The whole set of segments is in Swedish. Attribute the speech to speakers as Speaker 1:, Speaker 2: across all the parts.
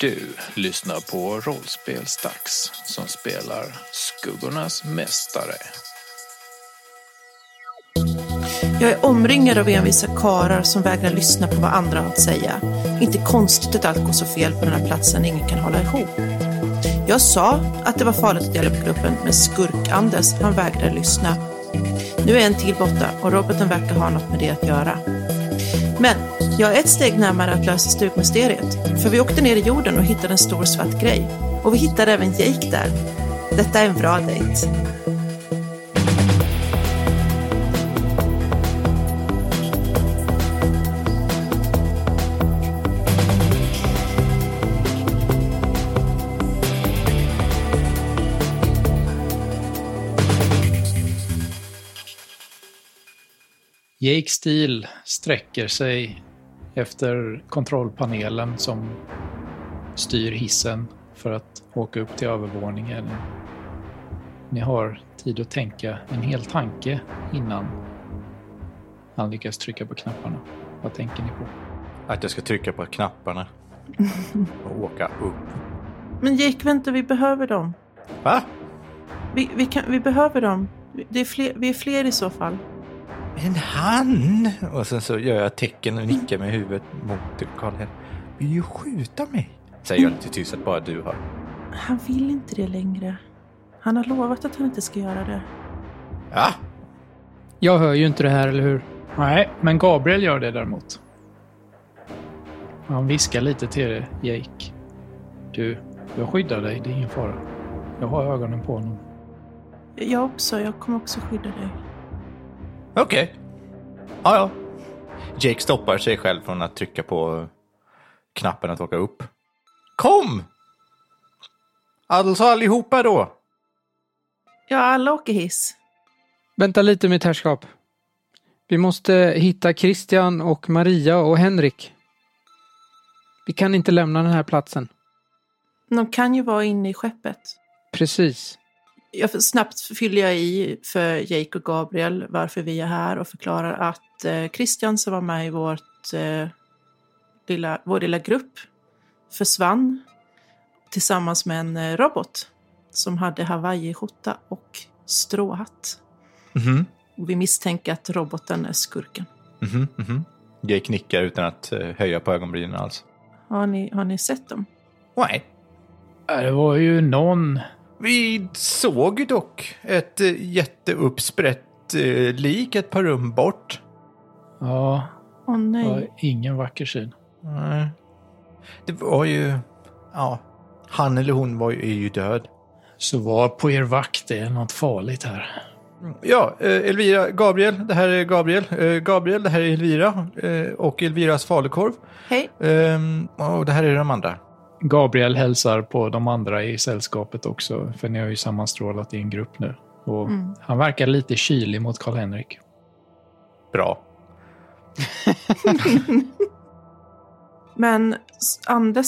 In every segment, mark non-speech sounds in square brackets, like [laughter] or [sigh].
Speaker 1: Du lyssnar på Rollspelsdags som spelar Skuggornas Mästare.
Speaker 2: Jag är omringad av envisa karar som vägrar lyssna på vad andra har att säga. Inte konstigt att allt går så fel på den här platsen ingen kan hålla ihop. Jag sa att det var farligt att dela upp gruppen, men skurk-Anders, han vägrar lyssna. Nu är en till borta och roboten verkar ha något med det att göra. Men jag är ett steg närmare att lösa stugmysteriet, för vi åkte ner i jorden och hittade en stor svart grej. Och vi hittade även Jake där. Detta är en bra dejt.
Speaker 1: Jake Steel sträcker sig efter kontrollpanelen som styr hissen för att åka upp till övervåningen. Ni har tid att tänka en hel tanke innan han lyckas trycka på knapparna. Vad tänker ni på?
Speaker 3: Att jag ska trycka på knapparna och åka upp.
Speaker 2: Men Jake, vänta, vi behöver dem.
Speaker 3: Va?
Speaker 2: Vi, vi, kan, vi behöver dem. Det är fler, vi är fler i så fall.
Speaker 3: En han! Och sen så gör jag tecken och nickar med huvudet mot Karl Hell. Vill ju skjuta mig? Säger jag lite tyst att bara du har.
Speaker 2: Han vill inte det längre. Han har lovat att han inte ska göra det.
Speaker 3: Ja!
Speaker 4: Jag hör ju inte det här, eller hur?
Speaker 1: Nej, men Gabriel gör det däremot. Han viskar lite till dig, Jake. Du, jag skyddar dig, det är ingen fara. Jag har ögonen på honom.
Speaker 2: Jag också, jag kommer också skydda dig.
Speaker 3: Okej. Ja, ja. Jake stoppar sig själv från att trycka på knappen att åka upp. Kom! Alltså allihopa då!
Speaker 2: Ja, alla åker hiss.
Speaker 4: Vänta lite mitt herrskap. Vi måste hitta Christian och Maria och Henrik. Vi kan inte lämna den här platsen.
Speaker 2: De kan ju vara inne i skeppet.
Speaker 4: Precis.
Speaker 2: Jag snabbt fyller jag i för Jake och Gabriel varför vi är här och förklarar att eh, Christian som var med i vårt, eh, lilla, vår lilla grupp försvann tillsammans med en eh, robot som hade hawaiiskjorta och stråhatt.
Speaker 3: Mhm,
Speaker 2: Och vi misstänker att roboten är skurken.
Speaker 3: mhm, mhm. Jake nickar utan att eh, höja på ögonbrynen alls.
Speaker 2: Har ni, har ni sett dem?
Speaker 3: Nej.
Speaker 1: Äh, Det var ju någon...
Speaker 3: Vi såg ju dock ett eh, jätteuppsprätt eh, lik ett par rum bort.
Speaker 1: Ja,
Speaker 2: Åh
Speaker 1: det
Speaker 2: nej.
Speaker 1: var ingen vacker syn.
Speaker 3: Nej. Det var ju... Ja. Han eller hon var ju, är ju död.
Speaker 1: Så var på er vakt, det är något farligt här.
Speaker 3: Ja, eh, Elvira, Gabriel, det här är Gabriel. Eh, Gabriel, det här är Elvira. eh, Och Elviras falukorv.
Speaker 2: Hej.
Speaker 3: Ehm, Och det här är de andra.
Speaker 1: Gabriel hälsar på de andra i sällskapet också, för ni har ju sammanstrålat i en grupp nu. Och
Speaker 2: Mm.
Speaker 1: Han verkar lite kylig mot Karl-Henrik.
Speaker 3: Bra.
Speaker 2: Men s- Anders,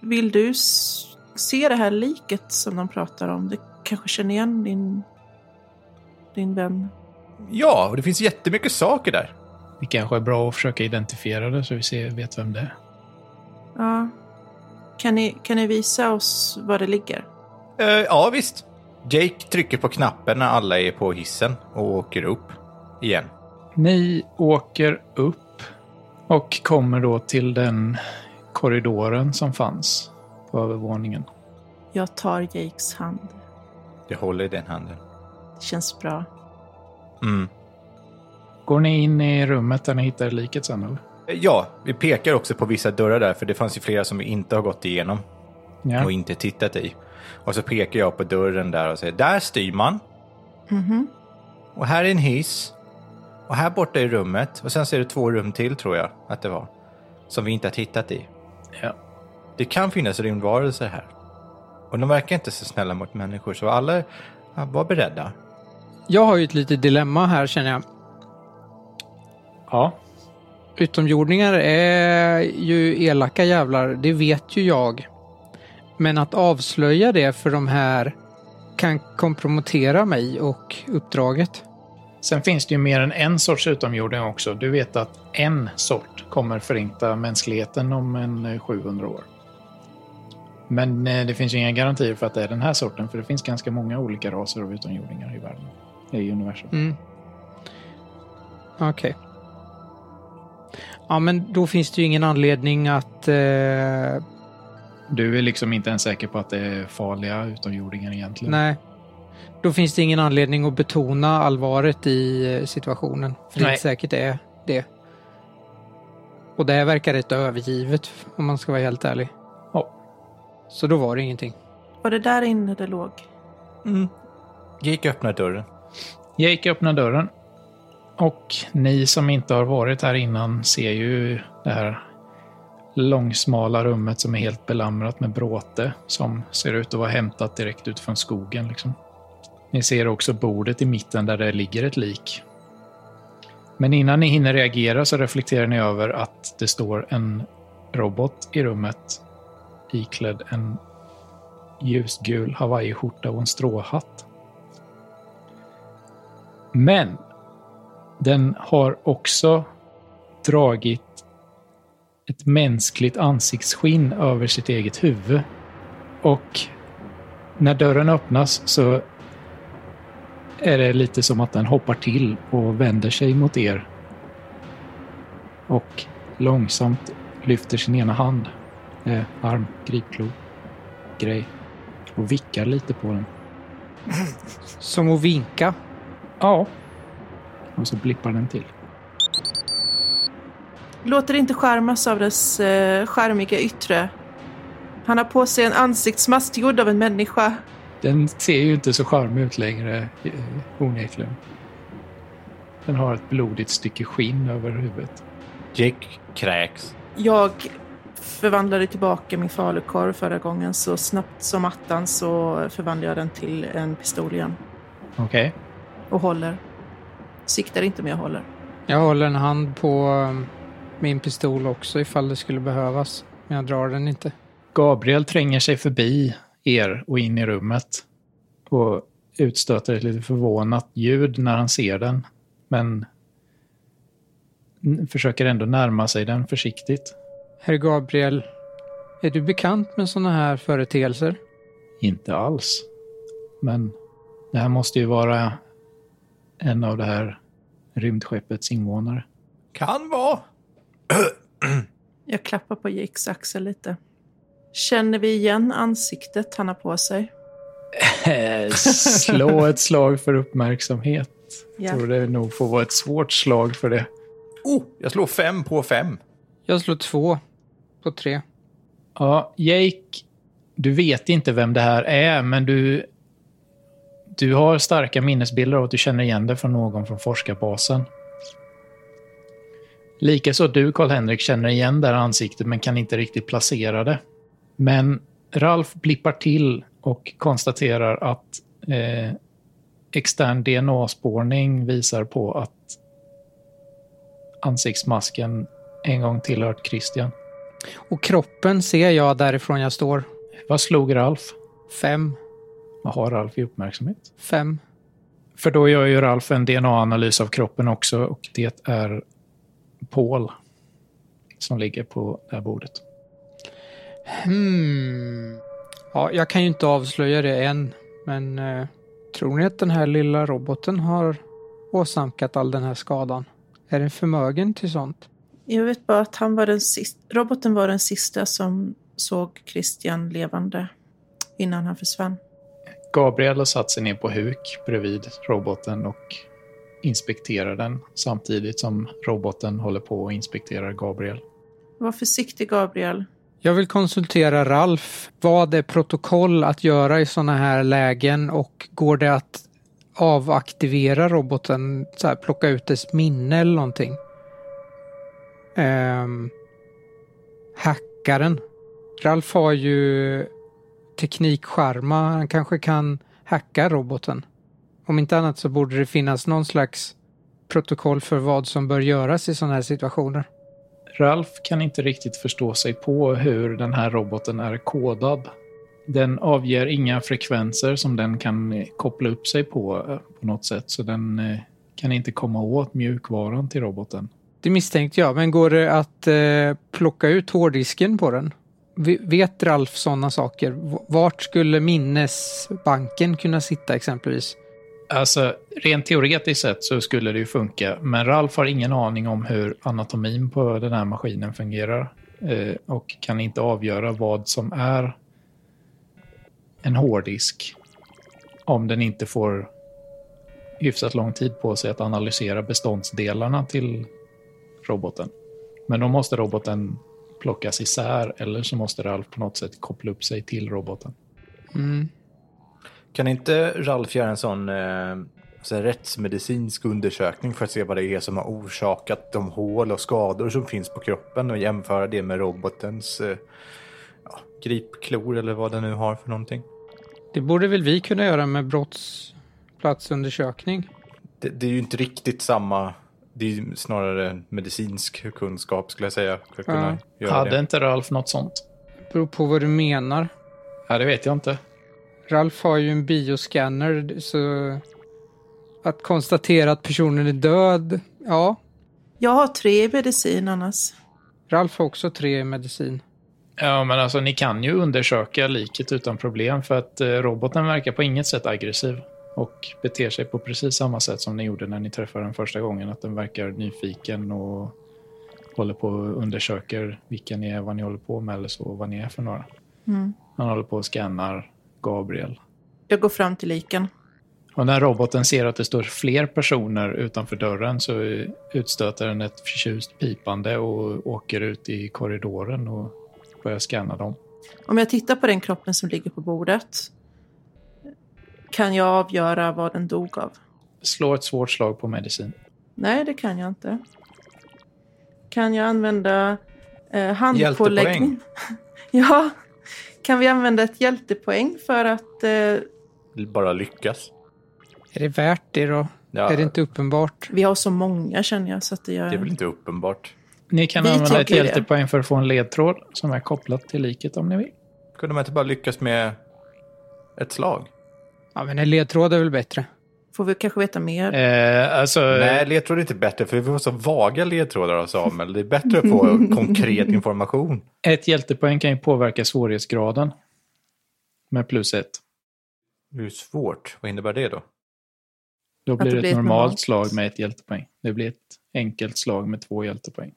Speaker 2: vill du s- se det här liket som de pratar om? Du kanske känner igen din, din vän?
Speaker 3: Ja, och det finns jättemycket saker där.
Speaker 1: Det kanske är bra att försöka identifiera det så vi ser, vet vem det är.
Speaker 2: Ja. Kan ni, kan ni visa oss var det ligger?
Speaker 3: Eh, Ja, visst. Jake trycker på knappen när alla är på hissen och åker upp igen.
Speaker 1: Ni åker upp och kommer då till den korridoren som fanns på övervåningen.
Speaker 2: Jag tar Jakes hand.
Speaker 3: Det håller i den handen.
Speaker 2: Det känns bra.
Speaker 3: Mm.
Speaker 1: Går ni in i rummet där ni hittar liket sen? Eller?
Speaker 3: Eh, Ja, vi pekar också på vissa dörrar där, för det fanns ju flera som vi inte har gått igenom. och
Speaker 1: Ja.
Speaker 3: inte tittat i. Och så pekar jag på dörren där och säger där styr man.
Speaker 2: Mhm.
Speaker 3: Och här är en hiss. Och här borta är rummet. Och sen så är det två rum till tror jag att det var. Som vi inte har tittat i.
Speaker 1: Ja.
Speaker 3: Det kan finnas rymdvarelser här. Och de verkar inte så snälla mot människor så alla ja, var beredda.
Speaker 4: Jag har ju ett litet dilemma här känner jag.
Speaker 1: ja.
Speaker 4: Utomjordingar är ju elaka jävlar, det vet ju jag. Men att avslöja det för de här kan kompromettera mig och uppdraget.
Speaker 1: Sen finns det ju mer än en sorts utomjording också. Du vet att en sort kommer förinta mänskligheten om en eh, 700 år. Men eh, det finns ju inga garantier för att det är den här sorten, för det finns ganska många olika raser av utomjordingar i världen, i universum.
Speaker 4: Mm. Okej. Ja, men då finns det ju ingen anledning att... Eh,
Speaker 1: Du är liksom inte ens säker på att det är farliga utomjordingar egentligen.
Speaker 4: nej. Då finns det ingen anledning att betona allvaret i eh, situationen. För det
Speaker 1: Nej.
Speaker 4: är säkert är det. Och det här verkar rätt övergivet, om man ska vara helt ärlig.
Speaker 1: Ja.
Speaker 4: Så då var det ingenting.
Speaker 2: Var det där inne det låg?
Speaker 3: Mm. Jake öppnar dörren.
Speaker 1: Jake öppnar dörren. Och ni som inte har varit här innan ser ju det här långsmala rummet som är helt belamrat med bråte som ser ut att vara hämtat direkt ut från skogen. Liksom. Ni ser också bordet i mitten där det ligger ett lik. Men innan ni hinner reagera så reflekterar ni över att det står en robot i rummet iklädd en ljusgul hawaiiskjorta och en stråhatt. Men den har också dragit ett mänskligt ansiktsskinn över sitt eget huvud. Och när dörren öppnas så är det lite som att den hoppar till och vänder sig mot er. Och långsamt lyfter sin ena hand, eh, arm, gripklo, grej och vickar lite på den.
Speaker 4: Som att vinka.
Speaker 1: Ja. Och så blippar den till.
Speaker 2: Låter inte skärmas av dess eh, skärmiga yttre. Han har på sig en ansiktsmask gjord av en människa.
Speaker 1: Den ser ju inte så charmig ut längre, eh, onekligen. Den har ett blodigt stycke skinn över huvudet.
Speaker 3: Jake kräks.
Speaker 2: Jag förvandlade tillbaka min falukorv förra gången så snabbt som attan så förvandlade jag den till en pistol igen.
Speaker 1: Okej.
Speaker 2: Och håller. Siktar inte men jag håller.
Speaker 4: Jag håller en hand på eh, min pistol också ifall det skulle behövas. Men jag drar den inte.
Speaker 1: Gabriel tränger sig förbi er och in i rummet. Och utstöter ett lite förvånat ljud när han ser den. Men n- försöker ändå närma sig den försiktigt.
Speaker 4: Herr Gabriel, är du bekant med sådana här företeelser?
Speaker 1: Inte alls. Men det här måste ju vara en av det här rymdskeppets invånare.
Speaker 3: Kan vara.
Speaker 2: Jag klappar på Jakes axel lite. Känner vi igen ansiktet han har på sig?
Speaker 1: Eh, Slå ett slag för uppmärksamhet.
Speaker 2: Ja.
Speaker 1: Jag tror det nog får vara ett svårt slag för det.
Speaker 3: Oh, jag slår fem på fem.
Speaker 4: Jag slår två på tre.
Speaker 1: Ja, Jake, du vet inte vem det här är, men du, du har starka minnesbilder av att du känner igen det från någon från forskarbasen. Likaså du, Karl-Henrik, känner igen det här ansiktet men kan inte riktigt placera det. Men Ralf blippar till och konstaterar att eh, extern DNA-spårning visar på att ansiktsmasken en gång tillhört Christian.
Speaker 4: Och kroppen ser jag därifrån jag står.
Speaker 1: Vad slog Ralf?
Speaker 4: Fem,
Speaker 1: Vad har Ralf i uppmärksamhet?
Speaker 4: fem.
Speaker 1: För då gör ju Ralf en DNA-analys av kroppen också och det är Paul som ligger på det här bordet.
Speaker 4: Hmm. Ja, jag kan ju inte avslöja det än, men eh, tror ni att den här lilla roboten har åsamkat all den här skadan? Är den förmögen till sånt?
Speaker 2: Jag vet bara att han var den sist- roboten var den sista som såg Christian levande innan han försvann.
Speaker 1: Gabriel har satt sig ner på huk bredvid roboten och inspekterar den samtidigt som roboten håller på och inspekterar Gabriel.
Speaker 2: Var försiktig Gabriel.
Speaker 4: Jag vill konsultera Ralf. Vad är protokoll att göra i sådana här lägen och går det att avaktivera roboten, så här, plocka ut dess minne eller någonting? Um, hackaren. Ralf har ju teknikskärma. Han kanske kan hacka roboten. Om inte annat så borde det finnas någon slags protokoll för vad som bör göras i sådana här situationer.
Speaker 1: Ralf kan inte riktigt förstå sig på hur den här roboten är kodad. Den avger inga frekvenser som den kan eh, koppla upp sig på eh, på något sätt, så den eh, kan inte komma åt mjukvaran till roboten.
Speaker 4: Det misstänkte jag, men går det att eh, plocka ut hårddisken på den? v- vet Ralf sådana saker? V- Vart skulle minnesbanken kunna sitta exempelvis?
Speaker 1: Alltså, rent teoretiskt sett så skulle det ju funka, men Ralf har ingen aning om hur anatomin på den här maskinen fungerar eh, och kan inte avgöra vad som är en hårddisk om den inte får hyfsat lång tid på sig att analysera beståndsdelarna till roboten. Men då måste roboten plockas isär eller så måste Ralf på något sätt koppla upp sig till roboten.
Speaker 4: Mm.
Speaker 3: Kan inte Ralf göra en sån eh, så här rättsmedicinsk undersökning för att se vad det är som har orsakat de hål och skador som finns på kroppen och jämföra det med robotens eh, ja, gripklor eller vad den nu har för någonting?
Speaker 4: Det borde väl vi kunna göra med brottsplatsundersökning?
Speaker 3: Det, det är ju inte riktigt samma. Det är ju snarare en medicinsk kunskap skulle jag säga. För att kunna göra
Speaker 1: Hade
Speaker 3: det.
Speaker 1: inte Ralf något sånt?
Speaker 4: Beror på vad du menar.
Speaker 1: Ja, det vet jag inte.
Speaker 4: Ralf har ju en bioscanner så att konstatera att personen är död, ja.
Speaker 2: Jag har tre i medicin annars.
Speaker 4: Ralf har också tre i medicin.
Speaker 1: Ja, men alltså ni kan ju undersöka liket utan problem för att eh, roboten verkar på inget sätt aggressiv och beter sig på precis samma sätt som ni gjorde när ni träffade den första gången. Att den verkar nyfiken och håller på och undersöker vilka ni är, vad ni håller på med eller så, vad ni är för några.
Speaker 2: Mm.
Speaker 1: Han håller på och scannar Gabriel.
Speaker 2: Jag går fram till liken.
Speaker 1: Och när roboten ser att det står fler personer utanför dörren så eh, utstöter den ett förtjust pipande och åker ut i korridoren och börjar scanna dem.
Speaker 2: Om jag tittar på den kroppen som ligger på bordet kan jag avgöra vad den dog av.
Speaker 1: Slå ett svårt slag på medicin.
Speaker 2: Nej, det kan jag inte. Kan jag använda eh, handpåläggning?
Speaker 3: Hjältepoäng.
Speaker 2: [laughs] ja. Kan vi använda ett hjältepoäng för att... Eh,
Speaker 3: Bara lyckas.
Speaker 4: Är det värt det då?
Speaker 3: Ja,
Speaker 4: Är det inte uppenbart?
Speaker 2: vi har så många känner jag så att det gör...
Speaker 3: det är väl inte uppenbart.
Speaker 1: Ni kan
Speaker 2: Vi
Speaker 1: använda ett
Speaker 2: tycker det.
Speaker 1: hjältepoäng för att få en ledtråd som är kopplat till liket om ni vill.
Speaker 3: Kunde man inte bara lyckas med ett slag?
Speaker 4: Ja, men en ledtråd är väl bättre?
Speaker 2: Får vi kanske veta mer?
Speaker 1: Eh, alltså,
Speaker 3: Nej, ledtråd är inte bättre, för vi får så vaga ledtrådar av Samuel. Det är bättre att få konkret information.
Speaker 1: Ett hjältepoäng kan ju påverka svårighetsgraden med plus ett.
Speaker 3: Det är ju svårt. Vad innebär det då?
Speaker 1: Då blir
Speaker 2: det
Speaker 1: det,
Speaker 2: blir
Speaker 1: ett
Speaker 2: ett
Speaker 1: normalt,
Speaker 2: normalt.
Speaker 1: slag med ett hjältepoäng. Det blir ett enkelt slag med två hjältepoäng.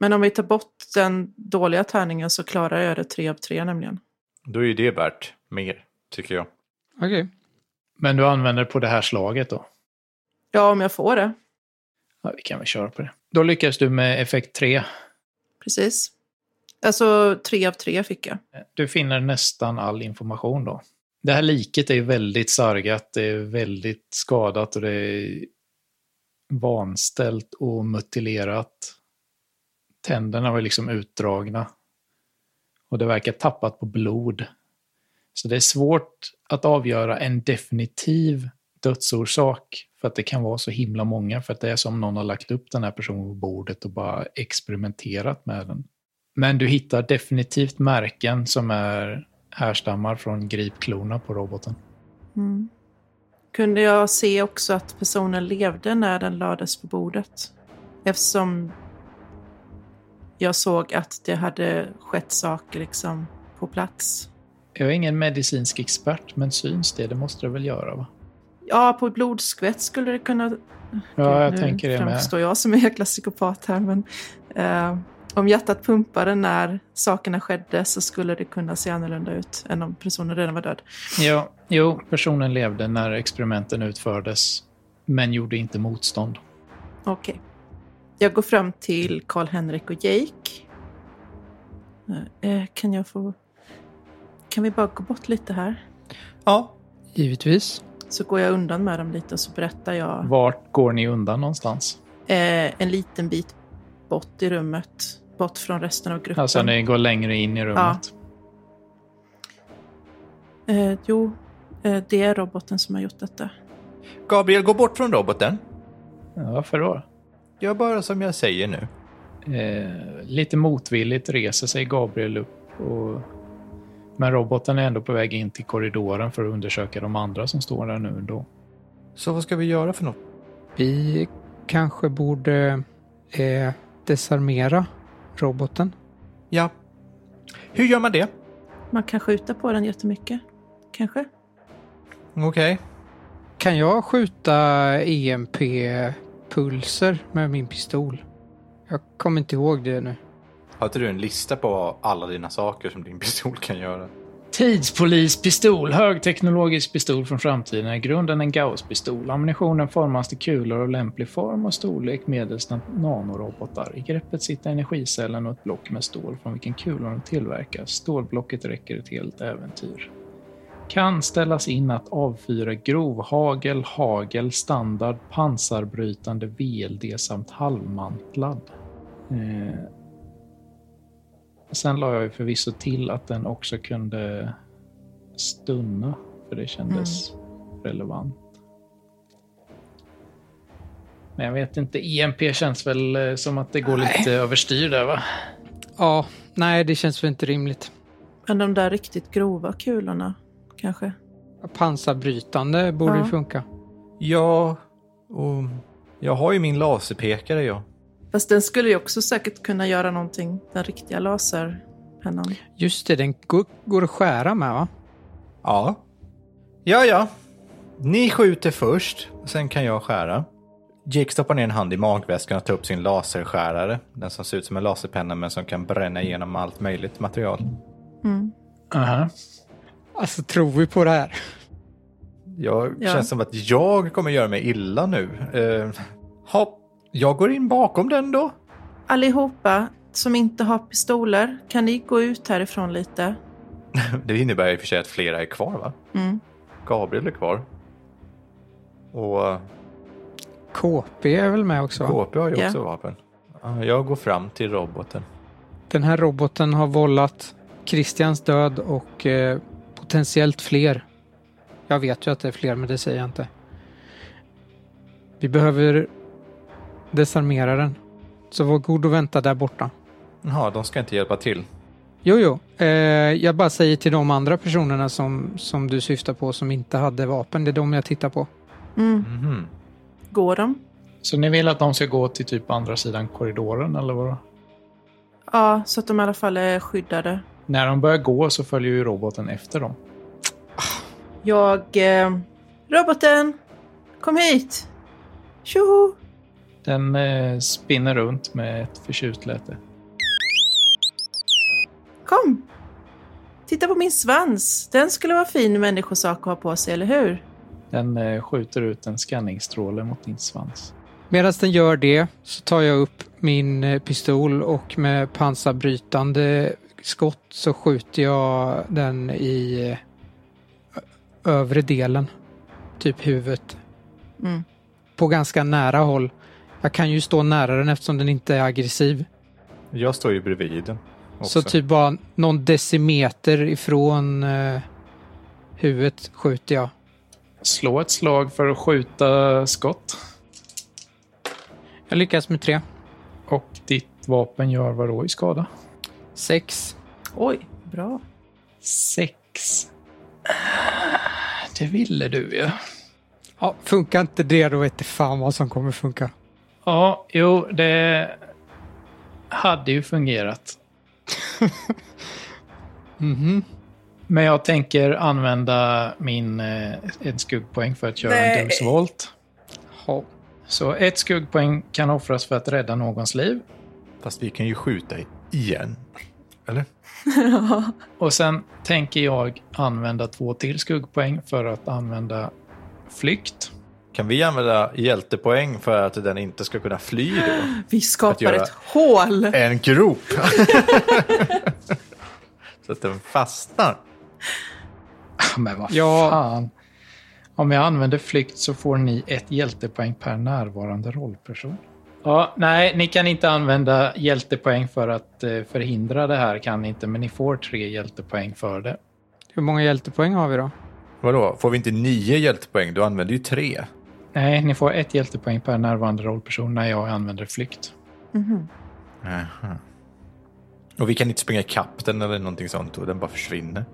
Speaker 2: Men om vi tar bort den dåliga tärningen så klarar jag det tre av tre nämligen.
Speaker 3: Då är ju det värt mer, tycker jag.
Speaker 4: Okej.
Speaker 1: Men du använder på det här slaget då?
Speaker 2: Ja, om jag får det.
Speaker 1: Ja, vi kan väl köra på det. Då lyckas du med effekt 3.
Speaker 2: Precis. Alltså tre av tre fick jag.
Speaker 1: Du finner nästan all information då. Det här liket är ju väldigt sargat, det är väldigt skadat och det är vanställt och mutilerat. Tänderna var liksom utdragna. Och det verkar tappat på blod. Så det är svårt att avgöra en definitiv dödsorsak för att det kan vara så himla många för att det är som någon har lagt upp den här personen på bordet och bara experimenterat med den. Men du hittar definitivt märken som är härstammar från gripklorna på roboten.
Speaker 2: Mm. Kunde jag se också att personen levde när den lades på bordet? Eftersom jag såg att det hade skett saker liksom på plats.
Speaker 1: Jag är ingen medicinsk expert, men syns det? Det måste det väl göra? va?
Speaker 2: Ja, på ett blodskvätt skulle det kunna...
Speaker 1: Ja, jag
Speaker 2: nu
Speaker 1: tänker det med.
Speaker 2: framstår jag som en jäkla psykopat här, men... Eh, om hjärtat pumpade när sakerna skedde så skulle det kunna se annorlunda ut än om personen redan var död.
Speaker 1: Ja, jo, personen levde när experimenten utfördes, men gjorde inte motstånd.
Speaker 2: Okej. Jag går fram till Karl-Henrik och Jake. Eh, kan jag få... Kan vi bara gå bort lite här?
Speaker 3: Ja,
Speaker 4: Givetvis.
Speaker 2: Så går jag undan med dem lite och så berättar jag
Speaker 1: Vart går ni undan någonstans?
Speaker 2: eh, en liten bit bort i rummet. Bort från resten av gruppen.
Speaker 1: Alltså, ni går längre in i rummet.
Speaker 2: eh, jo, eh, det är roboten som har gjort detta.
Speaker 3: Gabriel, gå bort från roboten.
Speaker 1: Ja, varför då?
Speaker 3: Gör bara som jag säger nu.
Speaker 1: Eh, lite motvilligt reser sig Gabriel upp. Och... Men roboten är ändå på väg in till korridoren för att undersöka de andra som står där nu ändå.
Speaker 3: Så vad ska vi göra för något?
Speaker 4: Vi kanske borde eh, desarmera roboten.
Speaker 3: Ja, Hur gör man det?
Speaker 2: Man kan skjuta på den jättemycket. Kanske?
Speaker 3: Okej.
Speaker 4: Kan jag skjuta EMP-pulser med min pistol? Jag kommer inte ihåg det nu.
Speaker 3: Har inte du en lista på alla dina saker som din pistol kan göra?
Speaker 1: Tidspolispistol, högteknologisk pistol från framtiden, är i grunden en Gauss-pistol. Ammunitionen formas till kulor av lämplig form och storlek medelst nanorobotar. I greppet sitter energicellen och ett block med stål från vilken kulorna tillverkas. Stålblocket räcker ett helt äventyr. Kan ställas in att avfyra grovhagel, hagel, standard, pansarbrytande VLD samt halvmantlad. Eh, Sen la jag ju förvisso till att den också kunde stunna, för det kändes relevant. Men jag vet inte, EMP känns väl eh, som att det går lite överstyr där va?
Speaker 4: Ja, nej det känns väl inte rimligt.
Speaker 2: Men de där riktigt grova kulorna, kanske?
Speaker 4: Pansarbrytande borde ju
Speaker 2: Ja.
Speaker 4: funka.
Speaker 3: Ja, och jag har ju min laserpekare jag.
Speaker 2: Fast den skulle ju också säkert kunna göra någonting, den riktiga laserpennan.
Speaker 4: Just det, den går, går att skära med va?
Speaker 3: Ja. Ja, ja. Ni skjuter först, sen kan jag skära. Jake stoppar ner en hand i magväskan och tar upp sin laserskärare. Den som ser ut som en laserpenna men som kan bränna igenom allt möjligt material.
Speaker 2: Mm.
Speaker 1: Aha.
Speaker 4: Alltså tror vi på det här?
Speaker 3: Jag
Speaker 2: Ja.
Speaker 3: känns som att jag kommer göra mig illa nu. Uh, hopp. Jag går in bakom den då.
Speaker 2: Allihopa som inte har pistoler, kan ni gå ut härifrån lite?
Speaker 3: [laughs] Det innebär i och för sig att flera är kvar va?
Speaker 2: Mm.
Speaker 3: Gabriel är kvar. Och
Speaker 4: KP är väl med också? Va?
Speaker 3: KP har ju
Speaker 2: Ja.
Speaker 3: också vapen. Ja, Jag går fram till roboten.
Speaker 4: Den här roboten har vållat Christians död och eh, potentiellt fler. Jag vet ju att det är fler, men det säger jag inte. Vi behöver desarmera den. Så var god och vänta där borta.
Speaker 3: Jaha, de ska inte hjälpa till.
Speaker 4: Jo, jo. Eh, jag bara säger till de andra personerna som, som du syftar på som inte hade vapen. Det är de jag tittar på.
Speaker 2: Mm.
Speaker 3: Mhm.
Speaker 2: Går de?
Speaker 1: Så ni vill att de ska gå till typ andra sidan korridoren eller vadå?
Speaker 2: Ja, så att de i alla fall är skyddade.
Speaker 1: När de börjar gå så följer ju roboten efter dem.
Speaker 2: Jag... Eh, roboten! Kom hit! Tjoho!
Speaker 1: Den eh, spinner runt med ett förtjust läte.
Speaker 2: Kom! Titta på min svans. Den skulle vara fin människosak att ha på sig, eller hur?
Speaker 1: Den eh, skjuter ut en skanningsstråle mot din svans.
Speaker 4: Medan den gör det så tar jag upp min eh, pistol och med pansarbrytande skott så skjuter jag den i eh, ö- övre delen, typ huvudet,
Speaker 2: Mm.
Speaker 4: på ganska nära håll. Jag kan ju stå nära den eftersom den inte är aggressiv.
Speaker 3: Jag står ju bredvid den. också.
Speaker 4: Så typ bara någon decimeter ifrån eh, huvudet skjuter jag.
Speaker 1: Slå ett slag för att skjuta skott.
Speaker 4: Jag lyckas med tre.
Speaker 1: Och ditt vapen gör vad då i skada?
Speaker 4: Sex.
Speaker 2: Oj, bra.
Speaker 1: Sex. Ah, Det ville du ju.
Speaker 4: Ja, funkar inte det då vet fan vad som kommer funka.
Speaker 1: Ja, jo, det hade ju [laughs] fungerat.
Speaker 4: Mhm.
Speaker 1: Men jag tänker använda min eh, en skuggpoäng för att göra
Speaker 2: Nej.
Speaker 1: en dumsvolt.
Speaker 4: Ja.
Speaker 1: Så ett skuggpoäng kan offras för att rädda någons liv.
Speaker 3: Fast vi kan ju skjuta igen. Eller?
Speaker 1: Och sen tänker jag använda två till skuggpoäng för att använda flykt.
Speaker 3: Kan vi använda hjältepoäng för att den inte ska kunna fly då?
Speaker 2: Vi
Speaker 3: Att
Speaker 2: skapar
Speaker 3: göra- Eh.
Speaker 2: ett hål!
Speaker 3: [gasps] En grop! [laughs] Så att den fastnar.
Speaker 1: Men vad
Speaker 4: Ja.
Speaker 1: fan. Om jag använder flykt så får ni ett hjältepoäng per närvarande rollperson. Ja, nej, ni kan inte använda hjältepoäng för att eh, förhindra det här, kan ni inte, men ni får tre hjältepoäng för det.
Speaker 4: Hur många hjältepoäng har vi då?
Speaker 3: Vadå, får vi inte nio hjältepoäng? Du använder ju tre.
Speaker 1: Nej, ni får ett hjältepoäng per närvarande rollperson när jag använder flykt.
Speaker 2: Mhm.
Speaker 3: Och vi kan inte springa ikapp den eller någonting sånt och den bara försvinner.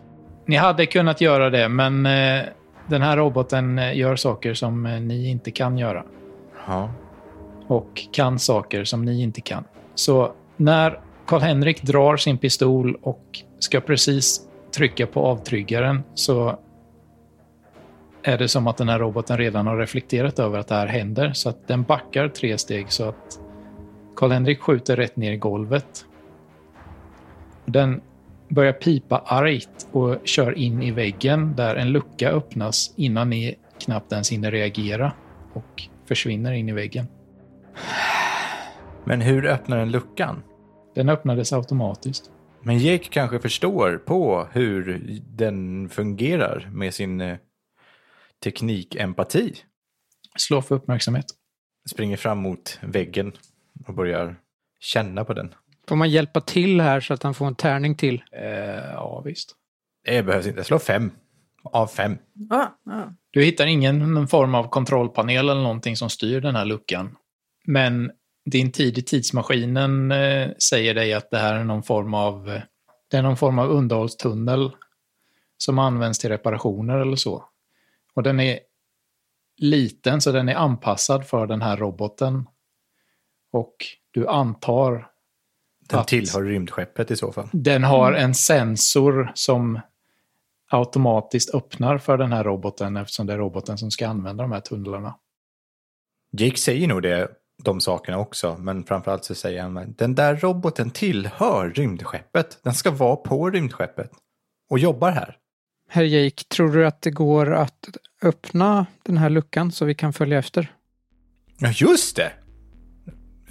Speaker 1: Ni hade kunnat göra det, men eh, den här roboten eh, gör saker som eh, ni inte kan göra.
Speaker 3: Ja.
Speaker 1: och kan saker som ni inte kan. Så när Karl-Henrik drar sin pistol och ska precis trycka på avtryggaren så är det som att den här roboten redan har reflekterat över att det här händer så att den backar tre steg så att Karl-Henrik skjuter rätt ner i golvet. Den börjar pipa argt och kör in i väggen där en lucka öppnas innan ni knappt ens hinner reagera och försvinner in i väggen.
Speaker 3: Men hur öppnar den luckan?
Speaker 1: Den öppnades automatiskt.
Speaker 3: Men Jake kanske förstår på hur den fungerar med sin eh, teknikempati.
Speaker 1: Slå för uppmärksamhet.
Speaker 3: Springer fram mot väggen och börjar känna på den.
Speaker 4: Får man hjälpa till här så att han får en tärning till?
Speaker 1: Eh, ja, visst.
Speaker 3: Det behövs inte. Slå fem av fem.
Speaker 2: Ah, ah.
Speaker 1: Du hittar ingen form av kontrollpanel eller någonting som styr den här luckan. Men din tid i tidsmaskinen eh, säger dig att det här är någon form av, eh, det är någon form av underhållstunnel som används till reparationer eller så. Och den är liten så den är anpassad för den här roboten. Och du antar
Speaker 3: Den
Speaker 1: Att-
Speaker 3: tillhör rymdskeppet i så fall.
Speaker 1: den har en sensor som automatiskt öppnar för den här roboten eftersom det är roboten som ska använda de här tunnlarna.
Speaker 3: Jake säger nog det, de sakerna också, men framförallt så säger han att den där roboten tillhör rymdskeppet. Den ska vara på rymdskeppet och jobbar här.
Speaker 4: Herr Jake, tror du att det går att öppna den här luckan så vi kan följa efter?
Speaker 3: Ja, just det!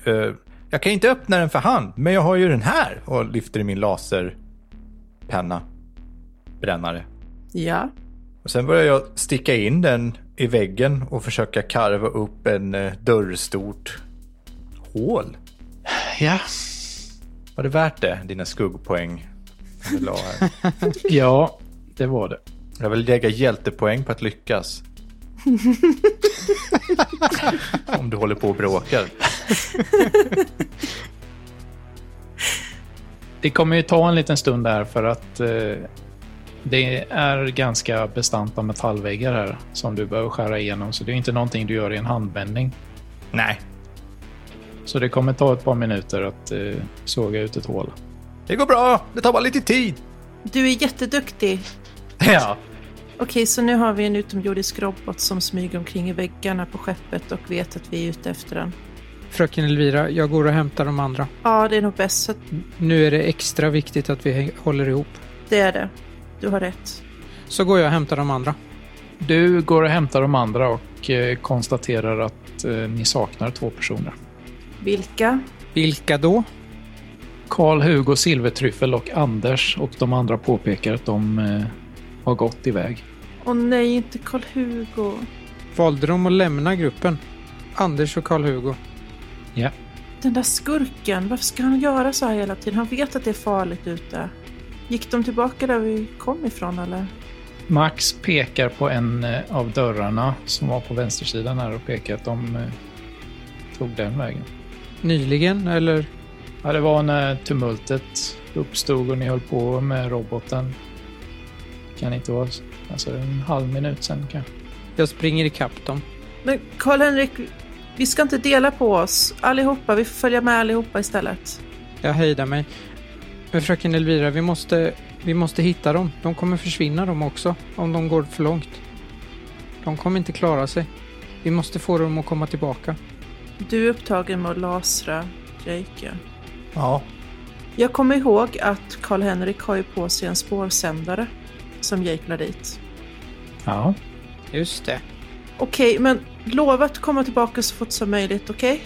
Speaker 3: Eh, jag kan inte öppna den för hand, men jag har ju den här och lyfter i min laserpenna. Brännare.
Speaker 2: Ja.
Speaker 3: Och sen börjar jag sticka in den i väggen och försöka karva upp en eh, dörrstort hål.
Speaker 1: Ja,
Speaker 3: Var det värt det, dina skuggpoäng? som Du la här?
Speaker 1: ja det var det.
Speaker 3: Jag vill lägga hjältepoäng på att lyckas. Om du håller på och bråkar.
Speaker 1: Det kommer ju ta en liten stund där för att eh, det är ganska bestanta metallväggar här som du behöver skära igenom. Så det är inte någonting du gör i en handvändning.
Speaker 3: Nej,
Speaker 1: Så det kommer ta ett par minuter att eh, såga ut ett hål.
Speaker 3: det går bra. Det tar bara lite tid.
Speaker 2: Du är jätteduktig.
Speaker 3: Ja.
Speaker 2: Okej, så nu har vi en utomjordisk robot som smyger omkring i väggarna på skeppet och vet att vi är ute efter den.
Speaker 4: Fröken Elvira, jag går och hämtar de andra.
Speaker 2: Ja, det är nog bäst. Så att
Speaker 4: Nu är det extra viktigt att vi häng- håller ihop.
Speaker 2: det är det. Du har rätt.
Speaker 4: Så går jag och hämtar de andra.
Speaker 1: Du går och hämtar de andra och eh, konstaterar att eh, ni saknar två personer.
Speaker 2: Vilka?
Speaker 4: Vilka då?
Speaker 1: Karl, Hugo, Silvertryffel och Anders och de andra påpekar att de eh, har gått iväg.
Speaker 2: Åh nej, inte Karl-Hugo.
Speaker 4: Valde de att lämna gruppen? Anders och Karl-Hugo.
Speaker 1: Ja.
Speaker 2: Den där skurken, varför ska han göra så här hela tiden? Han vet att det är farligt ute. Gick de tillbaka där vi kom ifrån eller?
Speaker 1: Max pekar på en eh, av dörrarna som var på vänstersidan här och pekar att de eh, tog den vägen.
Speaker 4: Nyligen, eller?
Speaker 1: Ja, det var när tumultet uppstod och ni höll på med roboten. Kan inte vara alltså, en halv minut sen kanske.
Speaker 4: Jag springer ikapp dem.
Speaker 2: Men Karl-Henrik, vi ska inte dela på oss allihopa. Vi får följa med allihopa istället.
Speaker 4: Jag hejdar mig. Men fröken Elvira, vi måste, vi måste hitta dem. De kommer försvinna de också, om de går för långt. De kommer inte klara sig. Vi måste få dem att komma tillbaka.
Speaker 2: Du är upptagen med att lasra Jake.
Speaker 3: Ja.
Speaker 2: Jag kommer ihåg att Karl-Henrik har ju på sig en spårsändare som Jake la dit.
Speaker 1: Ja.
Speaker 4: Just det.
Speaker 2: Okej, men lova att komma tillbaka så fort som möjligt, okej?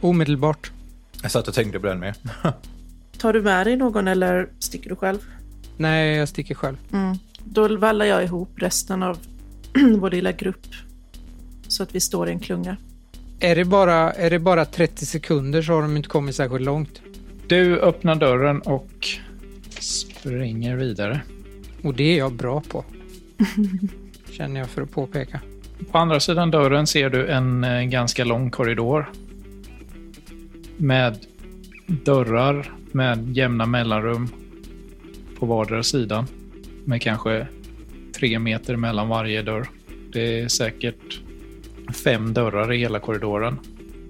Speaker 4: Omedelbart.
Speaker 3: Jag satt och tänkte på den med.
Speaker 2: Tar du med dig någon eller sticker du själv?
Speaker 4: Nej, jag sticker själv.
Speaker 2: Då vallar jag ihop resten av [clears throat] vår lilla grupp så att vi står i en klunga.
Speaker 4: Är det bara, är det bara 30 sekunder så har de inte kommit särskilt långt.
Speaker 1: Du öppnar dörren och springer vidare.
Speaker 4: Och det är jag bra [laughs] på. Känner jag för att påpeka.
Speaker 1: På andra sidan dörren ser du en eh, ganska lång korridor. Med dörrar med jämna mellanrum på vardera sidan. Med kanske tre meter mellan varje dörr. Det är säkert fem dörrar i hela korridoren.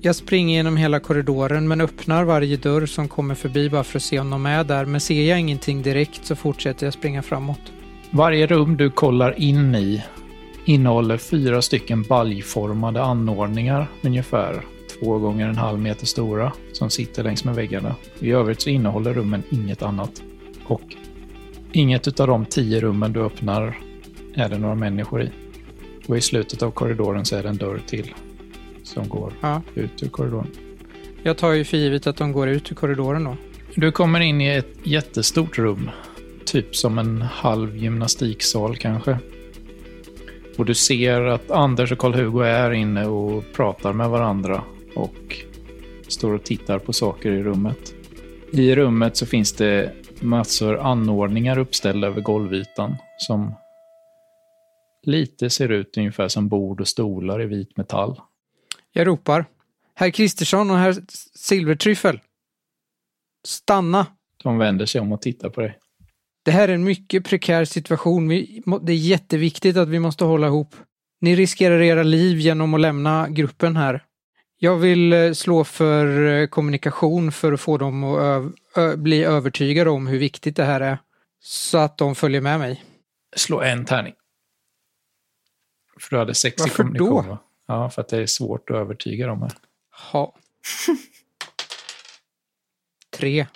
Speaker 4: Jag springer genom hela korridoren men öppnar varje dörr som kommer förbi bara för att se om de är där. Men ser jag ingenting direkt så fortsätter jag springa framåt.
Speaker 1: Varje rum du kollar in i innehåller fyra stycken baljformade anordningar, ungefär två gånger en halv meter stora, som sitter längs med väggarna. I övrigt så innehåller rummen inget annat. Och inget av de tio rummen du öppnar är det några människor i. Och i slutet av korridoren så är det en dörr till som går
Speaker 4: Ja.
Speaker 1: ut ur korridoren.
Speaker 4: Jag tar ju för givet att de går ut ur korridoren då.
Speaker 1: Du kommer in i ett jättestort rum. Typ som en halv gymnastiksal kanske. Och du ser att Anders och Karl-Hugo är inne och pratar med varandra och står och tittar på saker i rummet. I rummet så finns det massor anordningar uppställda över golvytan som lite ser ut ungefär som bord och stolar i vit metall.
Speaker 4: Jag ropar. Herr Kristersson och herr S- Silvertryffel. Stanna!
Speaker 1: De vänder sig om och tittar på dig.
Speaker 4: Det här är en mycket prekär situation. Vi, må- det är jätteviktigt att vi måste hålla ihop. Ni riskerar era liv genom att lämna gruppen här. Jag vill eh, slå för eh, kommunikation för att få dem att ö- ö- bli övertygade om hur viktigt det här är. Så att de följer med mig.
Speaker 1: Slå en tärning. För du hade sex i
Speaker 4: Varför
Speaker 1: kommunikation.
Speaker 4: då?
Speaker 1: va? Ja, för att det är svårt att övertyga dem här.
Speaker 4: Ha. Tre.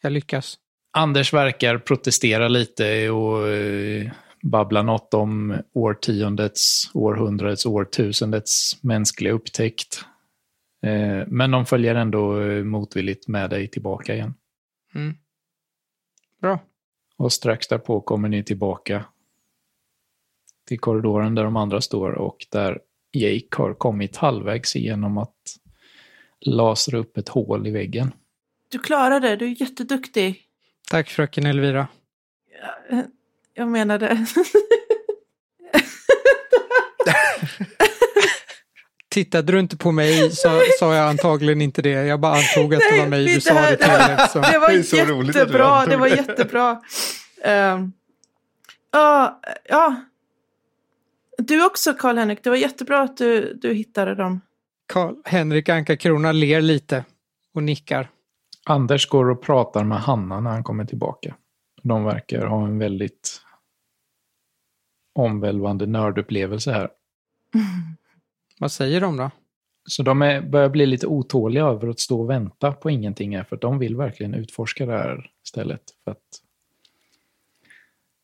Speaker 4: Jag lyckas.
Speaker 1: Anders verkar protestera lite och eh, babbla något om årtiondets, århundradets, årtusendets mänskliga upptäckt. Eh, Men de följer ändå eh, motvilligt med dig tillbaka igen.
Speaker 4: Mm. Bra.
Speaker 1: Och strax därpå kommer ni tillbaka till korridoren där de andra står och där Jake har kommit halvvägs genom att lasra upp ett hål i väggen.
Speaker 2: Du klarar det, du är jätteduktig. eh,
Speaker 4: Tack fröken Elvira.
Speaker 2: Jag [laughs] menade...
Speaker 4: Tittade du inte
Speaker 2: [laughs]
Speaker 4: på mig så sa jag antagligen inte det. Jag bara antog att det var mig du
Speaker 2: det
Speaker 4: sa
Speaker 2: här-
Speaker 4: det till.
Speaker 2: [laughs]
Speaker 4: liksom. eftersom-
Speaker 2: Det var
Speaker 3: Det är så roligt att du
Speaker 2: jättebra,
Speaker 3: antog
Speaker 2: det var
Speaker 3: det.
Speaker 2: jättebra. Ehm, Ja, ja. Du också Karl-Henrik, det var jättebra att du, du hittade dem.
Speaker 4: Karl Henrik Anka Krona ler lite och nickar.
Speaker 1: Anders går och pratar med Hanna när han kommer tillbaka. De verkar ha en väldigt omvälvande nördupplevelse här.
Speaker 4: Vad säger de då?
Speaker 1: Så de är, börjar bli lite otåliga över att stå och vänta på ingenting här, för att de vill verkligen utforska det här stället. För att,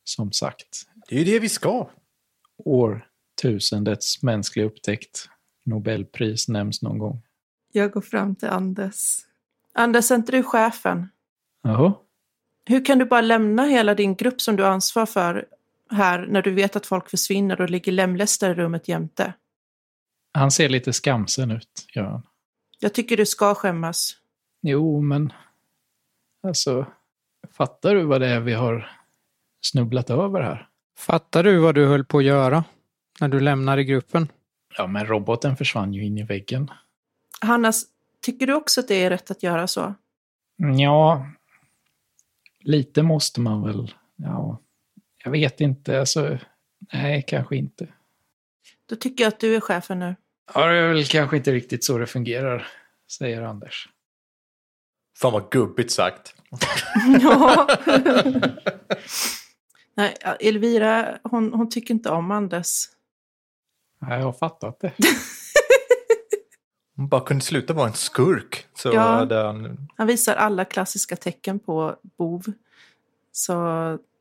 Speaker 1: som sagt,
Speaker 3: Det är ju det vi ska.
Speaker 1: årtusendets mänskliga upptäckt. Nobelpris nämns någon gång.
Speaker 2: Jag går fram till Anders. Anders, är inte du chefen?
Speaker 1: Jaha.
Speaker 2: Hur kan du bara lämna hela din grupp som du har ansvar för här när du vet att folk försvinner och ligger lemlästade i rummet jämte?
Speaker 1: Han ser lite skamsen ut, gör han.
Speaker 2: Jag tycker du ska skämmas.
Speaker 1: Jo, men... Alltså, fattar du vad det är vi har snubblat över här?
Speaker 4: Fattar du vad du höll på att göra när du lämnade gruppen?
Speaker 1: Ja, men roboten försvann ju in i väggen.
Speaker 2: Hannas, tycker du också att det är rätt att göra så?
Speaker 1: Ja, lite måste man väl... Ja, jag vet inte. Alltså, nej, kanske inte.
Speaker 2: Då tycker jag att du är chefen nu.
Speaker 1: Ja, det är väl kanske inte riktigt så det fungerar, säger Anders.
Speaker 3: Fan vad gubbigt [laughs] sagt.
Speaker 2: [laughs] Ja. Nej, Elvira, hon, hon tycker inte om Anders.
Speaker 1: Nej, jag har fattat det.
Speaker 3: Hon bara kunde sluta vara en skurk. Så
Speaker 2: Ja.
Speaker 3: hade han...
Speaker 2: Han visar alla klassiska tecken på bov. Så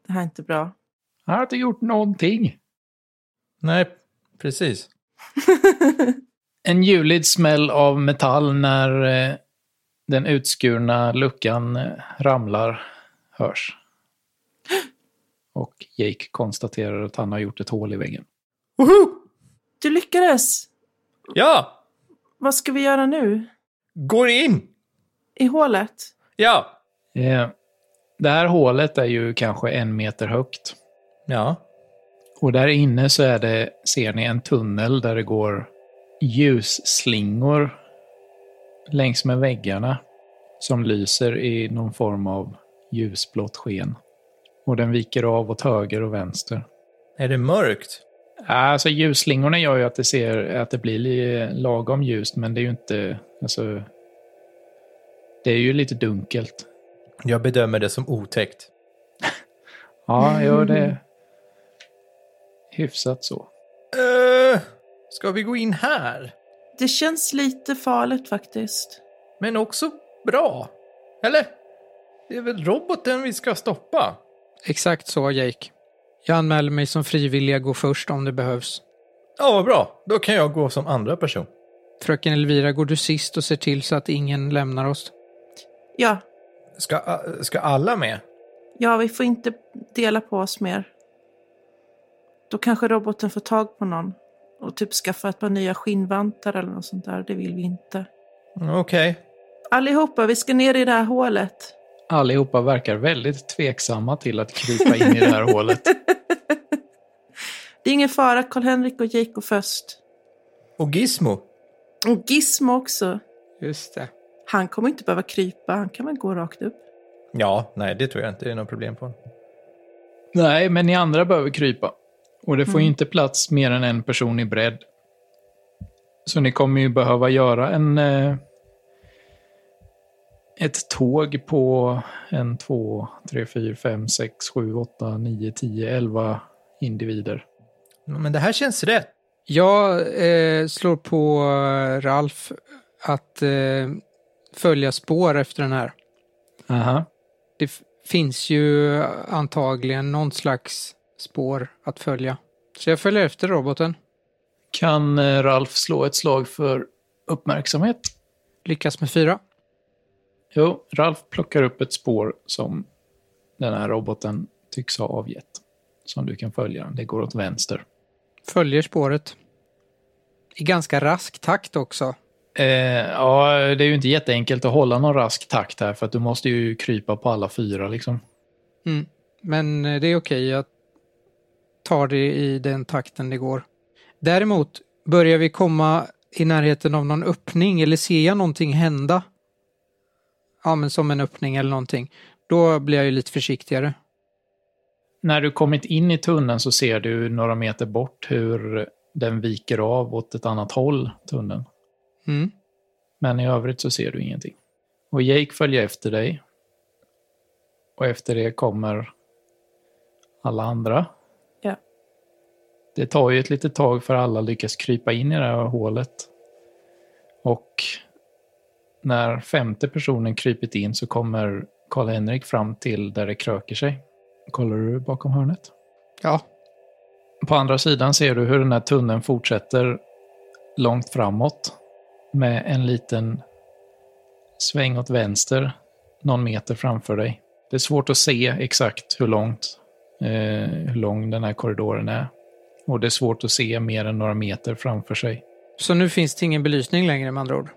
Speaker 2: det här är inte bra.
Speaker 1: Jag har inte gjort någonting.
Speaker 3: Nej, precis.
Speaker 1: En ljudlig smäll av metall när eh, den utskurna luckan eh, ramlar hörs. [gasps] Och Jake konstaterar att han har gjort ett hål i väggen.
Speaker 3: Woho!
Speaker 2: Du lyckades!
Speaker 3: Ja!
Speaker 2: Vad ska vi göra nu?
Speaker 3: Går in!
Speaker 2: I hålet?
Speaker 3: Ja!
Speaker 1: Eh, Det här hålet är ju kanske en meter högt.
Speaker 3: Ja.
Speaker 1: Och där inne så är det, ser ni en tunnel där det går ljusslingor längs med väggarna som lyser i någon form av ljusblått sken. Och den viker av åt höger och vänster.
Speaker 3: Är det mörkt?
Speaker 1: Alltså ljusslingorna gör ju att det, ser, att det blir li- lagom ljust, men det är ju inte... Alltså, det är ju lite dunkelt.
Speaker 3: Jag bedömer det som otäckt.
Speaker 1: Ja, gör det. Hyfsat så.
Speaker 3: Uh, ska vi gå in här?
Speaker 2: Det känns lite farligt faktiskt.
Speaker 3: Men också bra. Eller? Det är väl roboten vi ska stoppa?
Speaker 4: Exakt så, Jake. Jag anmäler mig som frivillig att gå först om det behövs.
Speaker 3: Ja, vad bra. Då kan jag gå som andra person.
Speaker 4: Fröken Elvira, går du sist och ser till så att ingen lämnar oss?
Speaker 2: Ja,
Speaker 3: Ska, äh, ska alla med?
Speaker 2: ja, vi får inte dela på oss mer. Då kanske roboten får tag på någon och typ skaffa ett par nya skinnvantar eller något sånt där. Det vill vi inte.
Speaker 3: Okej.
Speaker 2: Allihopa, vi ska ner i det här hålet.
Speaker 1: Allihopa verkar väldigt tveksamma till att krypa in i det här hålet.
Speaker 2: Det är ingen fara, Karl-Henrik och Jake går först.
Speaker 3: Och Gizmo?
Speaker 2: Och Gizmo också.
Speaker 4: Just det.
Speaker 2: Han kommer inte behöva krypa, han kan väl gå rakt upp.
Speaker 3: Ja, nej, det tror jag inte det är något problem på.
Speaker 1: Nej, men ni andra behöver krypa. Och det får ju inte plats mer än en person i bredd. Så ni kommer ju behöva göra en... Eh, ett tåg på en, två, tre, fyra, fem, sex, sju, åtta, nio, tio, elva individer.
Speaker 3: Men det här känns rätt.
Speaker 4: Jag eh, slår på eh, Ralf att eh, följa spår efter den här.
Speaker 1: Aha.
Speaker 4: Det f- finns ju antagligen någon slags spår att följa. Så jag följer efter roboten.
Speaker 1: Kan eh, Ralf slå ett slag för uppmärksamhet?
Speaker 4: Lyckas med fyra.
Speaker 1: Jo, Ralf plockar upp ett spår som den här roboten tycks ha avgett. Som du kan följa. Det går åt vänster.
Speaker 4: Följer spåret. I ganska rask takt också.
Speaker 1: Eh, ja, det är ju inte jätteenkelt att hålla någon rask takt här för att du måste ju krypa på alla fyra liksom.
Speaker 4: Mm. Men eh, det är okej, jag tar det i den takten det går. Däremot, börjar vi komma i närheten av någon öppning eller ser jag någonting hända? Ja, men som en öppning eller någonting. Då blir jag ju lite försiktigare.
Speaker 1: När du kommit in i tunneln så ser du några meter bort hur den viker av åt ett annat håll, tunneln.
Speaker 4: Mm.
Speaker 1: Men i övrigt så ser du ingenting. Och Jake följer efter dig. Och efter det kommer alla andra.
Speaker 2: Ja.
Speaker 1: Det tar ju ett litet tag för alla lyckas krypa in i det här hålet. Och när femte personen krypit in så kommer Karl-Henrik fram till där det kröker sig. Kollar du bakom hörnet?
Speaker 4: Ja,
Speaker 1: På andra sidan ser du hur den här tunneln fortsätter långt framåt med en liten sväng åt vänster någon meter framför dig. Det är svårt att se exakt hur långt eh, hur lång den här korridoren är. Och det är svårt att se mer än några meter framför sig.
Speaker 4: så nu finns det ingen belysning längre med andra ord.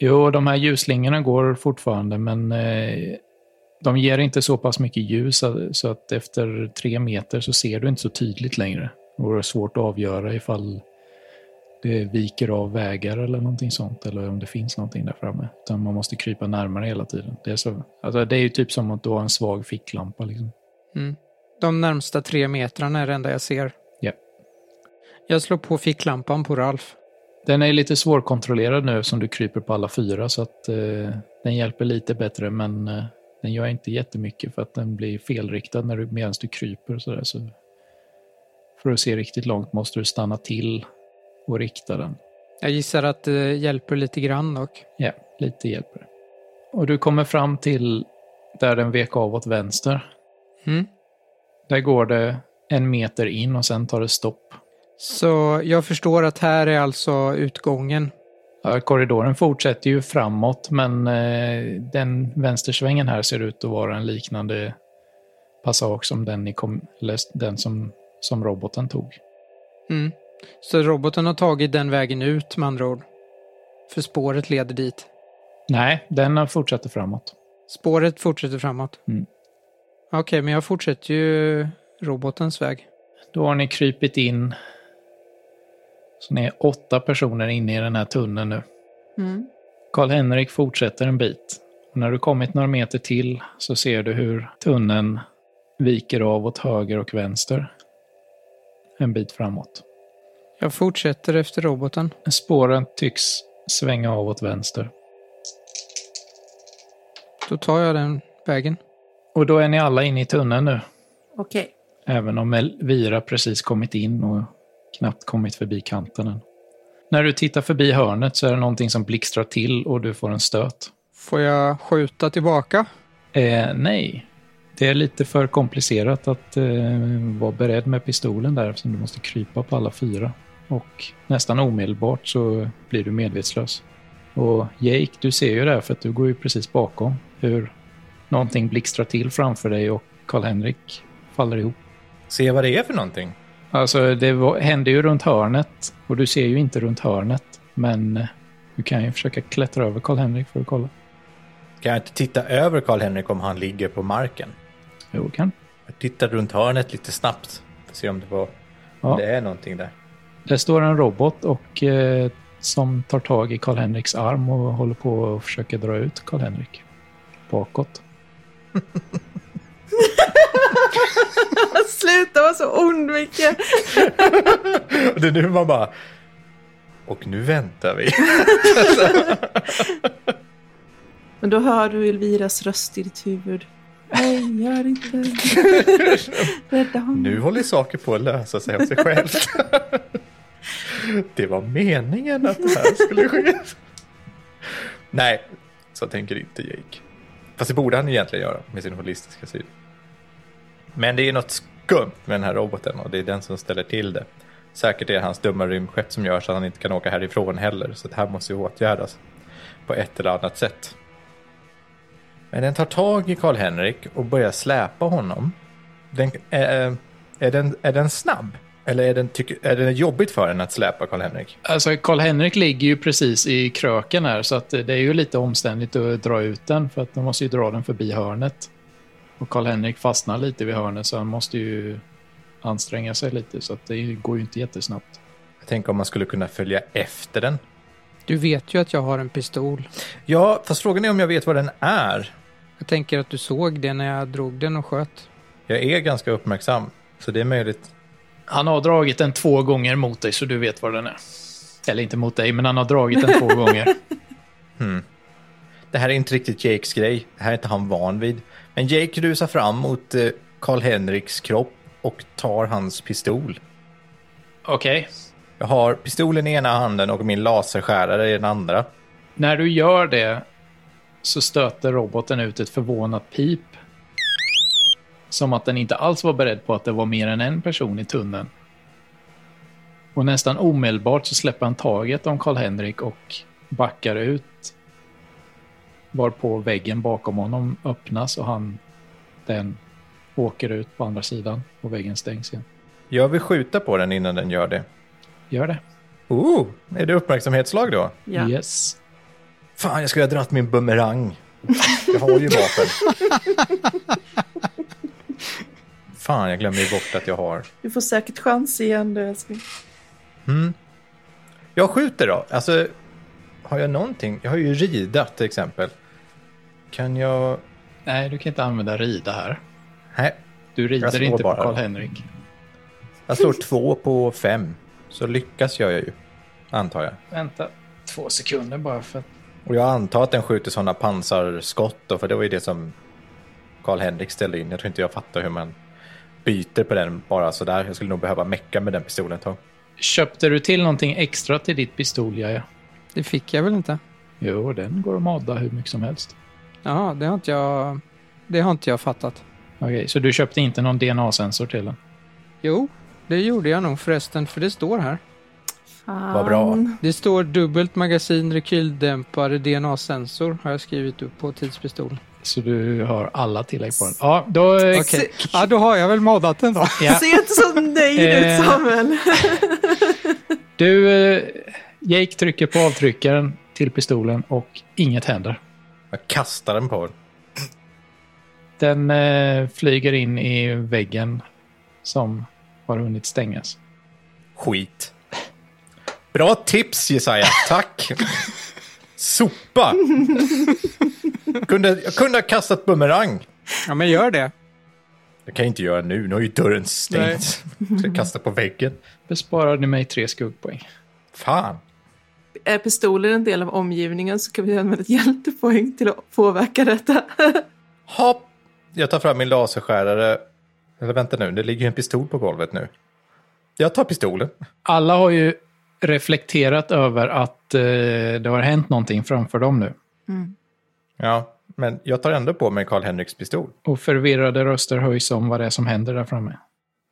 Speaker 1: Jo, de här ljusslingorna går fortfarande, men eh, de ger inte så pass mycket ljus att- så att efter tre meter så ser du inte så tydligt längre. Och det är svårt att avgöra ifall det viker av vägar eller någonting sånt, eller om det finns någonting där framme. Utan man måste krypa närmare hela tiden. Det är, så, alltså det är ju typ som att du har en svag ficklampa. Liksom.
Speaker 4: Mm. De närmsta tre metrarna är det enda jag ser.
Speaker 1: Ja.
Speaker 4: Jag slår på ficklampan på Ralf.
Speaker 1: Den är lite svårkontrollerad nu som du kryper på alla fyra så att eh, den hjälper lite bättre men eh, den gör inte jättemycket för att den blir felriktad när du, medan du kryper och sådär. Så för att se riktigt långt måste du stanna till och rikta den.
Speaker 4: Jag gissar att det hjälper lite grann dock.
Speaker 1: Ja, lite hjälper det. Och du kommer fram till där den vek av åt vänster.
Speaker 4: Mm.
Speaker 1: Där går det en meter in och sen tar det stopp.
Speaker 4: Så jag förstår att här är alltså utgången.
Speaker 1: Ja, korridoren fortsätter ju framåt, men eh, den vänstersvängen här ser ut att vara en liknande passage som den, ni kom, eller den som, som roboten tog.
Speaker 4: Mm. Så roboten har tagit den vägen ut med andra ord. För spåret leder dit.
Speaker 1: Nej, den fortsätter framåt.
Speaker 4: Spåret fortsätter framåt.
Speaker 1: Mm.
Speaker 4: Okej, men jag fortsätter ju robotens väg.
Speaker 1: Då har ni krypit in. Så ni är åtta personer inne i den här tunneln nu.
Speaker 2: Mm.
Speaker 1: Karl-Henrik fortsätter en bit. Och när du kommit några meter till så ser du hur tunneln viker av åt höger och vänster. En bit framåt.
Speaker 4: Jag fortsätter efter roboten.
Speaker 1: Spåren tycks svänga av åt vänster.
Speaker 4: Då tar jag den vägen.
Speaker 1: Och då är ni alla inne i tunneln nu.
Speaker 2: Okej. [laughs]
Speaker 1: Även om Elvira precis kommit in och knappt kommit förbi kanten än. När du tittar förbi hörnet så är det någonting som blixtrar till och du får en stöt.
Speaker 4: Får jag skjuta tillbaka?
Speaker 1: Eh, nej, det är lite för komplicerat att eh, vara beredd med pistolen där eftersom du måste krypa på alla fyra. Och nästan omedelbart så blir du medvetslös. Och Jake, du ser ju det här för att du går ju precis bakom hur någonting blixtrar till framför dig och Karl-Henrik faller ihop.
Speaker 3: Se vad det är för någonting.
Speaker 1: Alltså det var, hände ju runt hörnet och du ser ju inte runt hörnet. Men eh, du kan ju försöka klättra över Karl-Henrik för att kolla.
Speaker 3: Kan jag inte titta över Karl-Henrik om han ligger på marken?
Speaker 1: Jo, du kan.
Speaker 3: Jag tittar runt hörnet lite snabbt. För att se om det, var,
Speaker 1: Ja.
Speaker 3: om det är någonting där. [laughs]
Speaker 1: Det står en robot och, eh, som tar tag i Karl-Henriks arm och håller på och försöker dra ut Karl-Henrik bakåt.
Speaker 2: Sluta vara så ond, Micke!
Speaker 3: Och det är nu man bara... Och nu väntar vi.
Speaker 2: Men då hör du Elviras röst i ditt huvud. Nej, gör inte
Speaker 3: [laughs]
Speaker 2: Rädda honom.
Speaker 3: Nu håller saker på att lösa sig av sig självt. Det var meningen att det här skulle ske. Nej, så tänker inte Jake. Fast det borde han egentligen göra med sin holistiska syn. Men det är något skumt med den här roboten och det är den som ställer till det. Säkert är det hans dumma rymdskepp som gör så att han inte kan åka härifrån heller. Så det här måste ju åtgärdas på ett eller annat sätt. Men den tar tag i Karl-Henrik och börjar släpa honom. Den, eh, eh, är, den, är den snabb? Eller är, den, tycker- är det jobbigt för den att släpa Karl-Henrik?
Speaker 1: Alltså Karl-Henrik ligger ju precis i kröken här så att eh, det är ju lite omständigt att dra ut den för att de måste ju dra den förbi hörnet. Och Karl-Henrik fastnar lite vid hörnet så han måste ju anstränga sig lite så att det går ju inte jättesnabbt.
Speaker 3: Jag tänker om man skulle kunna följa efter den.
Speaker 4: Du vet ju att jag har en pistol.
Speaker 3: Ja, fast frågan är om jag vet vad den är.
Speaker 4: Jag tänker att du såg det när jag drog den och sköt.
Speaker 3: Jag är ganska uppmärksam, så det är möjligt.
Speaker 1: Han har dragit den två gånger mot dig så du vet var den är. Eller inte mot dig, men han har dragit den två gånger.
Speaker 3: Det här är inte riktigt Jakes grej. Det här är inte han van vid. Men Jake rusar fram mot eh, Karl-Henriks kropp och tar hans pistol.
Speaker 1: Okej.
Speaker 3: Jag har pistolen i ena handen och min laserskärare i den andra.
Speaker 1: När du gör det så stöter roboten ut ett förvånat pip. Som att den inte alls var beredd på att det var mer än en person i tunneln. Och nästan omedelbart så släpper han taget om Karl-Henrik och backar ut. Varpå väggen bakom honom öppnas och han den åker ut på andra sidan och väggen stängs igen.
Speaker 3: Jag vill skjuta på den innan den gör det.
Speaker 1: Gör det.
Speaker 3: Oh, är det uppmärksamhetslag då?
Speaker 2: Ja.
Speaker 1: Yes.
Speaker 3: Fan, jag skulle ha dratt min bumerang. Jag har ju vapen. Fan, jag glömmer ju bort att jag har.
Speaker 2: Du får säkert chans igen du älskling.
Speaker 3: Jag skjuter då. Alltså, har jag någonting? Jag har ju rida till exempel. Kan jag...
Speaker 1: Nej, du kan inte använda rida här.
Speaker 3: Nej,
Speaker 1: Du
Speaker 3: Jag
Speaker 1: rider
Speaker 3: slår
Speaker 1: inte på
Speaker 3: bara.
Speaker 1: Karl-Henrik.
Speaker 3: jag slår två på fem. Så lyckas gör jag ju, antar jag.
Speaker 1: Vänta två sekunder bara för att...
Speaker 3: Och jag antar att den skjuter sådana pansarskott då, för det var ju det som Karl-Henrik ställde in. Jag tror inte jag fattar hur man byter på den bara sådär. Jag skulle nog behöva mecka med den pistolen ett tag.
Speaker 1: Köpte du till någonting extra till ditt pistol, Jaja?
Speaker 4: Det fick jag väl inte?
Speaker 1: Jo, den går att modda hur mycket som helst.
Speaker 4: Ja, det har inte jag, det har inte jag fattat.
Speaker 1: Okej, så du köpte inte någon DNA-sensor till den?
Speaker 4: Jo, det gjorde jag nog förresten, för det står här.
Speaker 2: Fan.
Speaker 3: Vad bra.
Speaker 4: Det står dubbelt magasin, rekyldämpare, DNA-sensor har jag skrivit upp på tidspistolen.
Speaker 1: Så du har alla tillägg på den? Ja, då... eh,
Speaker 4: Okej, ja, då har jag väl moddat den då.
Speaker 1: Ja.
Speaker 2: Ser inte så nöjd ut
Speaker 1: Eh.
Speaker 2: Samuel.
Speaker 1: Du, eh, Jake trycker på avtryckaren till pistolen och inget händer.
Speaker 3: Jag kastar den på den.
Speaker 1: Den eh, flyger in i väggen som har hunnit stängas.
Speaker 3: Skit. Bra tips Jesaja, tack. Sopa. Kunde, jag kunde ha kastat bumerang.
Speaker 4: Ja, men gör det.
Speaker 3: Det kan jag inte göra nu, nu har ju dörren stängt. Ska kasta på väggen.
Speaker 1: Besparade mig tre skuggpoäng.
Speaker 3: Fan.
Speaker 2: Är pistolen en del av omgivningen så kan vi använda ett hjältepoäng till att påverka detta. [laughs]
Speaker 3: Hopp! Jag tar fram min laserskärare. Eller vänta nu, det ligger ju en pistol på golvet nu. Jag tar pistolen.
Speaker 1: Alla har ju reflekterat över att eh, det har hänt någonting framför dem nu.
Speaker 3: Ja, men jag tar ändå på mig Karl Henriks pistol.
Speaker 1: Och förvirrade röster höjs om vad det är som händer där framme.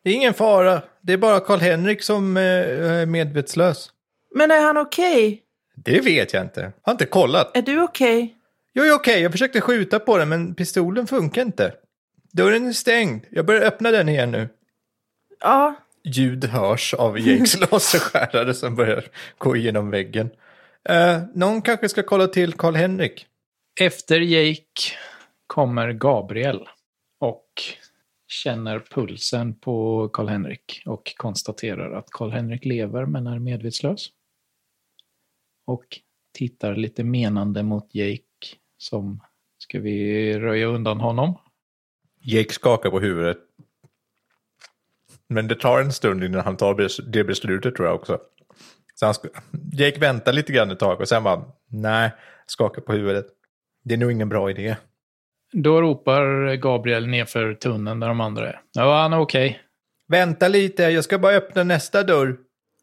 Speaker 3: Det är ingen fara, det är bara Karl Henrik som eh, är medvetslös.
Speaker 2: Men är han okej?
Speaker 3: Det vet jag inte. Har inte kollat.
Speaker 2: Är du okej?
Speaker 3: Jag är okej, jag försökte skjuta på den men pistolen funkar inte. Dörren är stängd. Jag börjar öppna den igen nu.
Speaker 2: Ja,
Speaker 3: Ljud hörs av Jakes laserskärare som börjar gå igenom väggen. Eh, någon kanske ska kolla till Karl Henrik.
Speaker 1: Efter Jake kommer Gabriel och känner pulsen på Karl-Henrik och konstaterar att Karl-Henrik lever men är medvetslös. Och tittar lite menande mot Jake som ska vi röja undan honom?
Speaker 3: Jake skakar på huvudet. Men det tar en stund innan han tar bes- det beslutet tror jag också. Så han sk- Jake väntar lite grann ett tag och sen bara, nej, skakar på huvudet. Det är nog ingen bra idé.
Speaker 1: Då ropar Gabriel nerför tunneln där de andra är. Ja, han är okej.
Speaker 3: Vänta lite, jag ska bara öppna nästa dörr.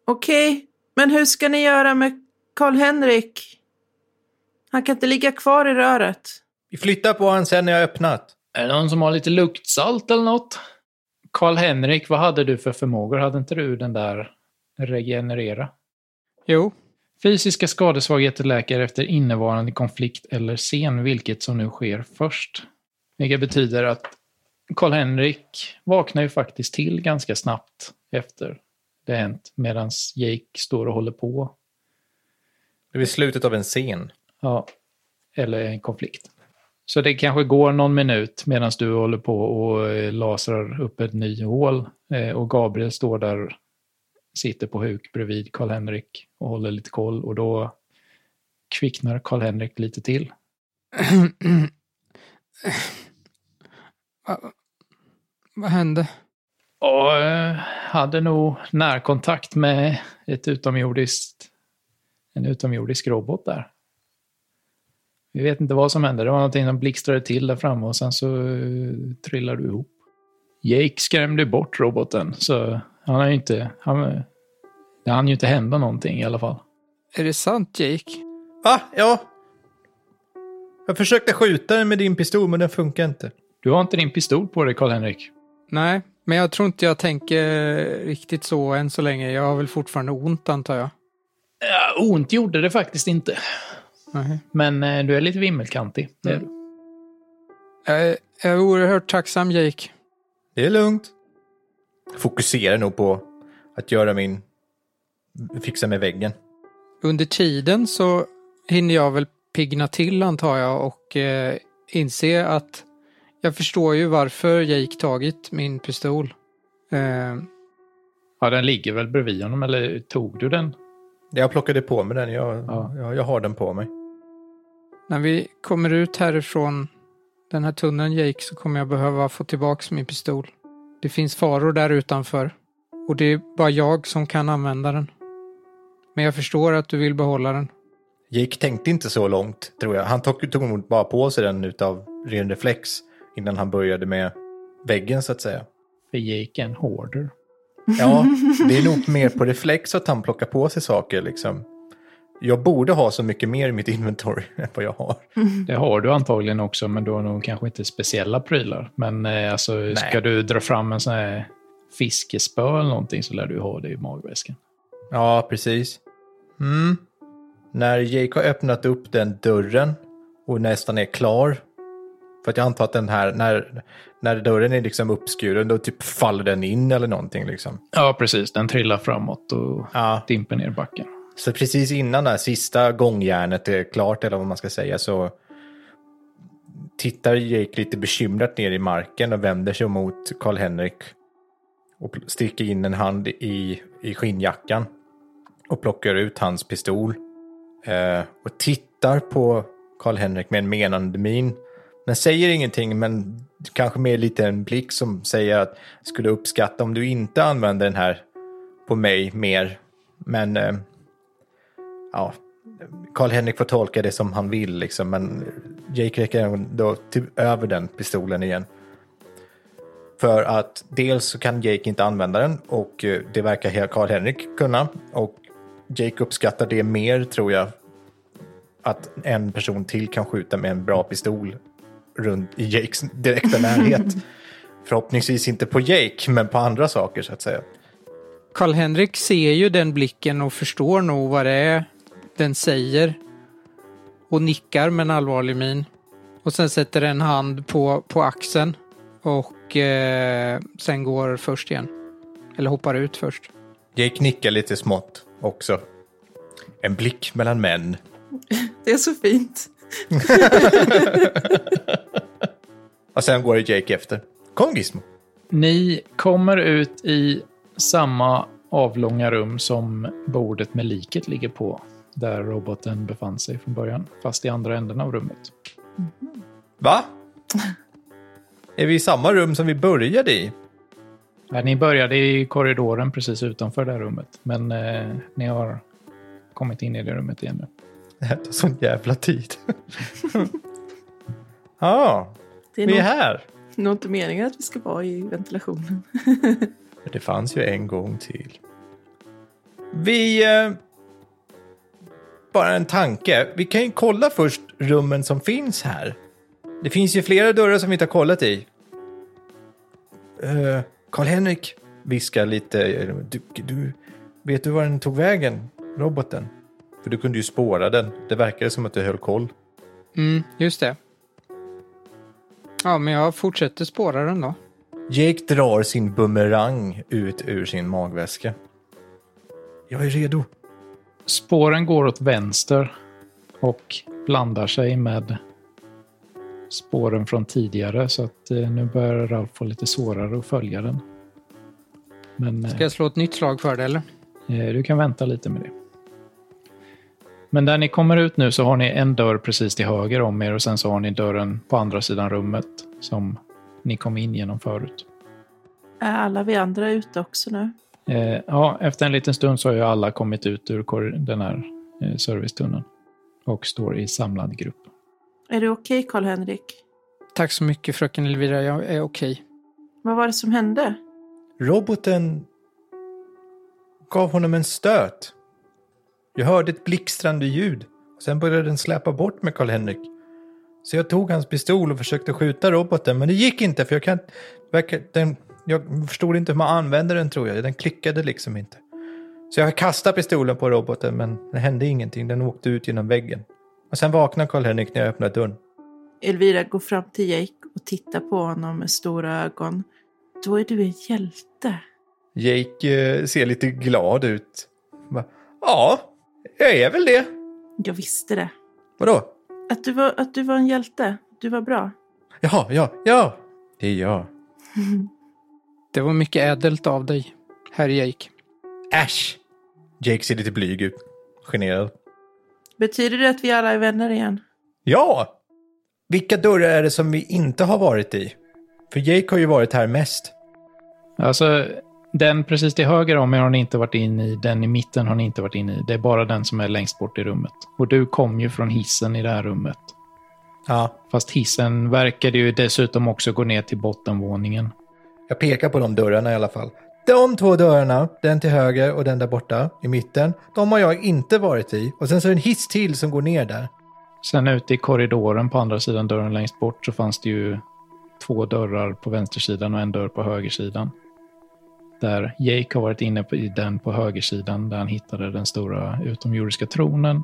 Speaker 2: okej. Men hur ska ni göra med Karl-Henrik? Han kan inte ligga kvar i röret.
Speaker 3: Vi flyttar på honom sen när jag har öppnat.
Speaker 1: Är det någon som har lite luktsalt eller något? Karl-Henrik, vad hade du för förmågor? Hade inte du den där regenerera?
Speaker 4: Jo, [clears throat]
Speaker 1: Fysiska skadesvagheter läker efter innevarande konflikt eller scen, vilket som nu sker först. Vilket betyder att Karl-Henrik vaknar ju faktiskt till ganska snabbt efter det hänt, medan Jake står och håller på.
Speaker 3: Det är slutet av en scen.
Speaker 1: Ja, eller en konflikt. Så det kanske går någon minut medan du håller på och eh, lasrar upp ett nyhål eh, och Gabriel står där, sitter på huk bredvid Karl-Henrik och håller lite koll och då kvicknar Karl-Henrik lite till.
Speaker 4: vad hände?
Speaker 1: Och eh, hade nog närkontakt med ett utomjordiskt, en utomjordisk robot där. Vi vet inte vad som hände. Det var någonting som blixtrade till där framme och sen så eh, trillade du ihop. Jake skrämde bort roboten, så han har ju inte... Han, det hann ju inte hända någonting i alla fall.
Speaker 4: Är det sant Jake?
Speaker 3: Va? Ja. Jag försökte skjuta den med din pistol, men den funkar inte.
Speaker 1: Du har inte din pistol på dig, Karl-Henrik.
Speaker 4: Nej, men jag tror inte jag tänker riktigt så än så länge. Jag har väl fortfarande ont antar jag.
Speaker 1: Ja, ont gjorde det faktiskt inte.
Speaker 4: Nej.
Speaker 1: Men eh, du är lite vimmelkantig. Det är du.
Speaker 4: Jag är, jag är oerhört tacksam Jake.
Speaker 3: Det är lugnt. Jag fokuserar nog på att göra min... Fixa med väggen.
Speaker 4: Under tiden så hinner jag väl pigna till antar jag och eh, inse att jag förstår ju varför Jake tagit min pistol. Eh,
Speaker 1: Ja, den ligger väl bredvid honom, eller tog du den?
Speaker 3: Jag plockade på mig den. Jag,
Speaker 1: Ja.
Speaker 3: jag, jag har den på mig.
Speaker 4: när vi kommer ut härifrån den här tunneln Jake så kommer jag behöva få tillbaks min pistol. Det finns faror där utanför och det är bara jag som kan använda den. Men jag förstår att du vill behålla den.
Speaker 3: Jake tänkte inte så långt, tror jag. Han tog, tog nog bara på sig den utav ren reflex innan han började med väggen, så att säga.
Speaker 1: För Jake är en hoarder.
Speaker 3: Ja, det är nog mer på reflex att han plockar på sig saker liksom. Jag borde ha så mycket mer i mitt inventory [laughs] än vad jag har.
Speaker 1: Det har du antagligen också, men du har nog kanske inte speciella prylar. Men eh, alltså, ska du dra fram en sån här fiskespö eller någonting så lär du ha det i magväskan.
Speaker 3: Ja, precis. Mm. När Jake har öppnat upp den dörren och nästan är klar. För att jag antar att den här, när, när dörren är liksom uppskuren, då typ faller den in eller någonting liksom.
Speaker 1: Ja, precis. Den trillar framåt och
Speaker 3: Ja,
Speaker 1: dimper ner i backen.
Speaker 3: Så precis innan det här sista gångjärnet är klart, eller vad man ska säga, så tittar Jake lite bekymrat ner i marken och vänder sig mot Karl-Henrik och pl- sticker in en hand i, i skinnjackan och plockar ut hans pistol eh, och tittar på Karl-Henrik med en menande min Den säger ingenting, men kanske mer lite en blick som säger att jag skulle uppskatta om du inte använder den här på mig mer. Men eh, ja, Karl-Henrik får tolka det som han vill, liksom, men Jake räcker ändå till, över den pistolen igen. För att dels så kan Jake inte använda den och eh, det verkar Karl-Henrik kunna. Och Jake uppskattar det mer, tror jag, att en person till kan skjuta med en bra pistol runt i Jakes direkta närhet. Förhoppningsvis inte på Jake, men på andra saker så att säga.
Speaker 4: Karl-Henrik ser ju den blicken och förstår nog vad det är den säger. Och nickar med en allvarlig min. Och sen sätter en hand på, på axeln. Och eh, sen går först igen. Eller hoppar ut först.
Speaker 3: Jake nickar lite smått också. En blick mellan män.
Speaker 2: Det är så fint.
Speaker 3: Och sen går Jake efter. Kom Gizmo.
Speaker 1: Ni kommer ut i samma avlånga rum som bordet med liket ligger på, där roboten befann sig från början, fast i andra änden av rummet.
Speaker 2: [laughs]
Speaker 3: Va? Är vi i samma rum som vi började i?
Speaker 1: Nej, Ni började i korridoren precis utanför det här rummet, men eh, ni har kommit in i det rummet igen nu.
Speaker 3: Det här tar sån jävla tid. [laughs] Ja,
Speaker 2: Det är
Speaker 3: vi är
Speaker 2: nog,
Speaker 3: här.
Speaker 2: nog inte meningen att vi ska vara i ventilationen.
Speaker 3: Det fanns ju en gång till. Vi... Eh, bara en tanke. Vi kan ju kolla först rummen som finns här. Det finns ju flera dörrar som vi inte har kollat i. Eh, Karl-Henrik viskar lite. eh, Du, du, vet du var den tog vägen? Roboten? För du kunde ju spåra den. Det verkade som att du höll koll.
Speaker 4: Mm, just det. Ja, men jag fortsätter spåra den då.
Speaker 3: Jake drar sin bumerang ut ur sin magväska. Jag är redo.
Speaker 1: Spåren går åt vänster och blandar sig med spåren från tidigare så att eh, nu börjar Ralf få lite svårare att följa den. Men eh,
Speaker 4: Ska jag slå ett nytt slag för det eller?
Speaker 1: eh, du kan vänta lite med det. Men där ni kommer ut nu så har ni en dörr precis till höger om er och sen så har ni dörren på andra sidan rummet som ni kom in genom förut.
Speaker 2: Är alla vi andra ute också nu?
Speaker 1: Eh, ja, efter en liten stund så har ju alla kommit ut ur korri- den här eh, servicetunneln och står i samlad grupp.
Speaker 2: Är det okej, Karl-Henrik?
Speaker 4: Tack så mycket fröken Elvira, jag är okej.
Speaker 2: Vad var det som hände?
Speaker 3: Roboten gav honom en stöt. Jag hörde ett blixtrande ljud. Och sen började den släpa bort med Karl-Henrik. Så jag tog hans pistol och försökte skjuta roboten, men det gick inte för jag kan verkar, den, Jag förstod inte hur man använder den tror jag. Den klickade liksom inte. Så jag kastade pistolen på roboten, men det hände ingenting. Den åkte ut genom väggen. Och sen vaknade Karl-Henrik när jag öppnade dörren.
Speaker 2: Elvira går fram till Jake och tittar på honom med stora ögon. Då är du en hjälte.
Speaker 3: Jake eh, ser lite glad ut. Va? Ja, jag är väl det.
Speaker 2: Jag visste det.
Speaker 3: Vadå?
Speaker 2: Att du var, att du var en hjälte. Du var bra.
Speaker 3: Ja, ja, ja. Det är jag.
Speaker 4: Det var mycket ädelt av dig, herr Jake.
Speaker 3: Äsch! Jake ser lite blyg ut. Generad.
Speaker 2: Betyder det att vi alla är vänner igen?
Speaker 3: Ja! Vilka dörrar är det som vi inte har varit i? För Jake har ju varit här mest.
Speaker 1: Alltså, den precis till höger om er har ni inte varit in i. Den i mitten har ni inte varit in i. Det är bara den som är längst bort i rummet. Och du kom ju från hissen i det här rummet.
Speaker 3: Ja.
Speaker 1: Fast hissen verkade ju dessutom också gå ner till bottenvåningen.
Speaker 3: Jag pekar på de dörrarna i alla fall. De två dörrarna, den till höger och den där borta i mitten, de har jag inte varit i. Och sen så är det en hiss till som går ner där.
Speaker 1: Sen ute i korridoren på andra sidan dörren längst bort så fanns det ju två dörrar på vänstersidan och en dörr på högersidan. Där Jake har varit inne på, i den på högersidan där han hittade den stora utomjordiska tronen.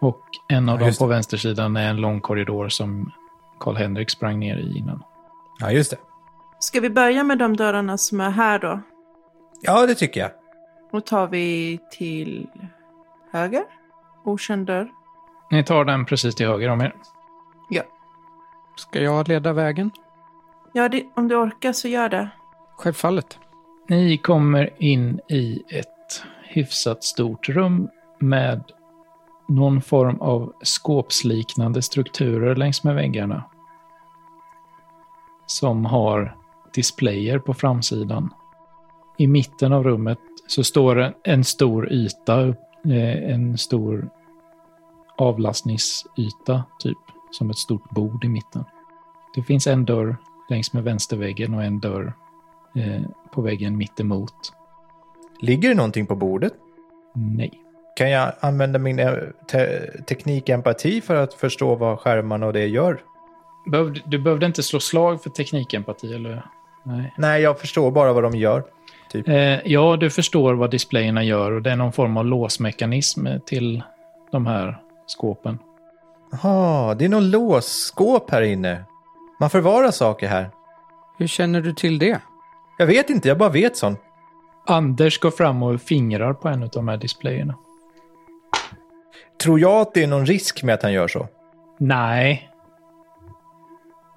Speaker 1: Och en av
Speaker 3: Ja,
Speaker 1: dem
Speaker 3: just
Speaker 1: på vänstersidan är en lång korridor som Karl-Henrik sprang ner i innan.
Speaker 3: Ja, just det.
Speaker 2: Ska vi börja med de dörrarna som är här då?
Speaker 3: Ja, det tycker jag.
Speaker 2: Och tar vi till höger? Okänd dörr?
Speaker 1: Ni tar den precis till höger om er.
Speaker 2: Ja.
Speaker 4: Ska jag leda vägen?
Speaker 2: Ja, det, om du orkar så gör det.
Speaker 4: Självfallet.
Speaker 1: Ni kommer in i ett hyfsat stort rum med någon form av skåpsliknande strukturer längs med väggarna. som har displayer på framsidan. I mitten av rummet så står en- en stor yta, eh, en stor avlastningsyta, typ som ett stort bord i mitten. Det finns en dörr längs med vänsterväggen och en dörr eh, på väggen mittemot.
Speaker 3: Ligger det någonting på bordet?
Speaker 1: Nej.
Speaker 3: Kan jag använda min eh, te- teknik empati för att förstå vad skärmarna och det gör?
Speaker 1: Behövde, du behövde inte slå slag för teknikempati, eller? Nej.
Speaker 3: Nej, jag förstår bara vad de gör.
Speaker 1: Eh, ja, du förstår vad displayerna gör och det är någon form av låsmekanism eh, till de här skåpen.
Speaker 3: Jaha, det är någon låsskåp här inne. Man förvarar saker här.
Speaker 4: Hur känner du till det?
Speaker 3: Jag vet inte, jag bara vet sånt.
Speaker 1: Anders går fram och fingrar på en av de här displayerna.
Speaker 3: Tror jag att det är någon risk med att han gör så?
Speaker 1: Nej.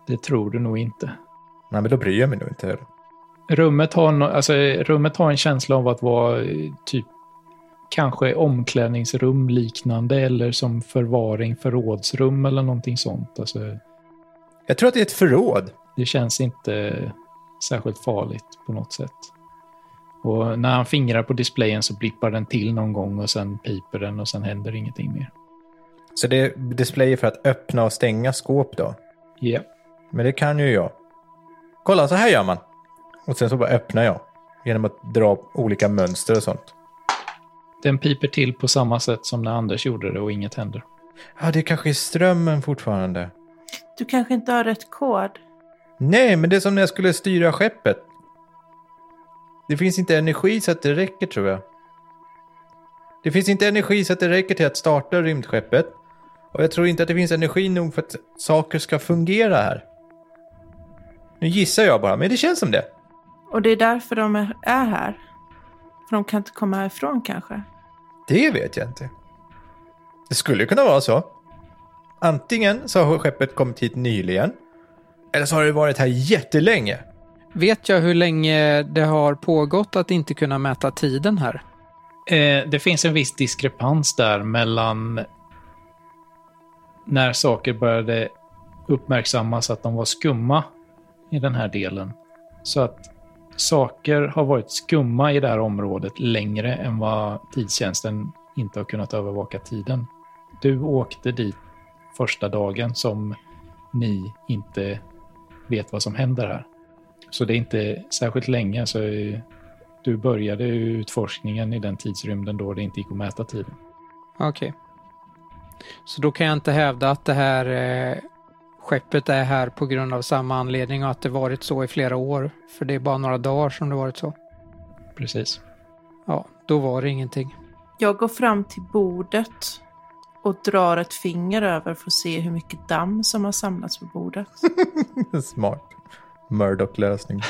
Speaker 1: Det tror du nog inte.
Speaker 3: Nej, men då bryr jag mig nog inte heller.
Speaker 1: Rummet har, no- alltså, rummet har en känsla av att vara eh, typ kanske omklädningsrum liknande eller som förvaring, förrådsrum eller någonting sånt. Alltså,
Speaker 3: Jag tror att det är ett förråd.
Speaker 1: det känns inte särskilt farligt på något sätt. Och när han fingrar på displayen så blippar den till någon gång och sen piper den och sen händer ingenting mer.
Speaker 3: Så det är displayer för att öppna och stänga skåp då?
Speaker 1: Ja.
Speaker 3: Men det kan ju jag. Kolla, så här gör man. Och sen så bara öppnar jag. Genom att dra olika mönster och sånt.
Speaker 1: Den piper till på samma sätt som när Anders gjorde det och inget händer.
Speaker 3: Ja, det kanske är strömmen fortfarande.
Speaker 2: Du kanske inte har rätt kod.
Speaker 3: Nej, men det är som när jag skulle styra skeppet. Det finns inte energi så att det räcker tror jag. Det finns inte energi så att det räcker till att starta rymdskeppet. Och jag tror inte att det finns energi nog för att saker ska fungera här. Nu gissar jag bara, men det känns som det.
Speaker 2: Och det är därför de är är här. För de kan inte komma härifrån kanske.
Speaker 3: Det vet jag inte. Det skulle kunna vara så. Antingen så har skeppet kommit hit nyligen. Eller så har det varit här jättelänge. [laughs]
Speaker 4: Vet jag hur länge det har pågått att inte kunna mäta tiden här?
Speaker 1: Eh, det finns en viss diskrepans där mellan när saker började uppmärksammas att de var skumma i den här delen. Så att saker har varit skumma i det här området längre än vad tidstjänsten inte har kunnat övervaka tiden. Du åkte dit första dagen som ni inte vet vad som händer här. Så det är inte särskilt länge, så eh, du började ju utforskningen i den tidsrymden då det inte gick att mäta tiden.
Speaker 4: Okej. Så då kan jag inte hävda att det här eh, skeppet är här på grund av samma anledning och att det varit så i flera år. För det är bara några dagar som det varit så.
Speaker 1: Precis.
Speaker 4: Ja, då var det ingenting.
Speaker 2: Jag går fram till bordet och drar ett finger över för att se hur mycket damm som har samlats på bordet.
Speaker 3: Smart. Murdoch-lösning.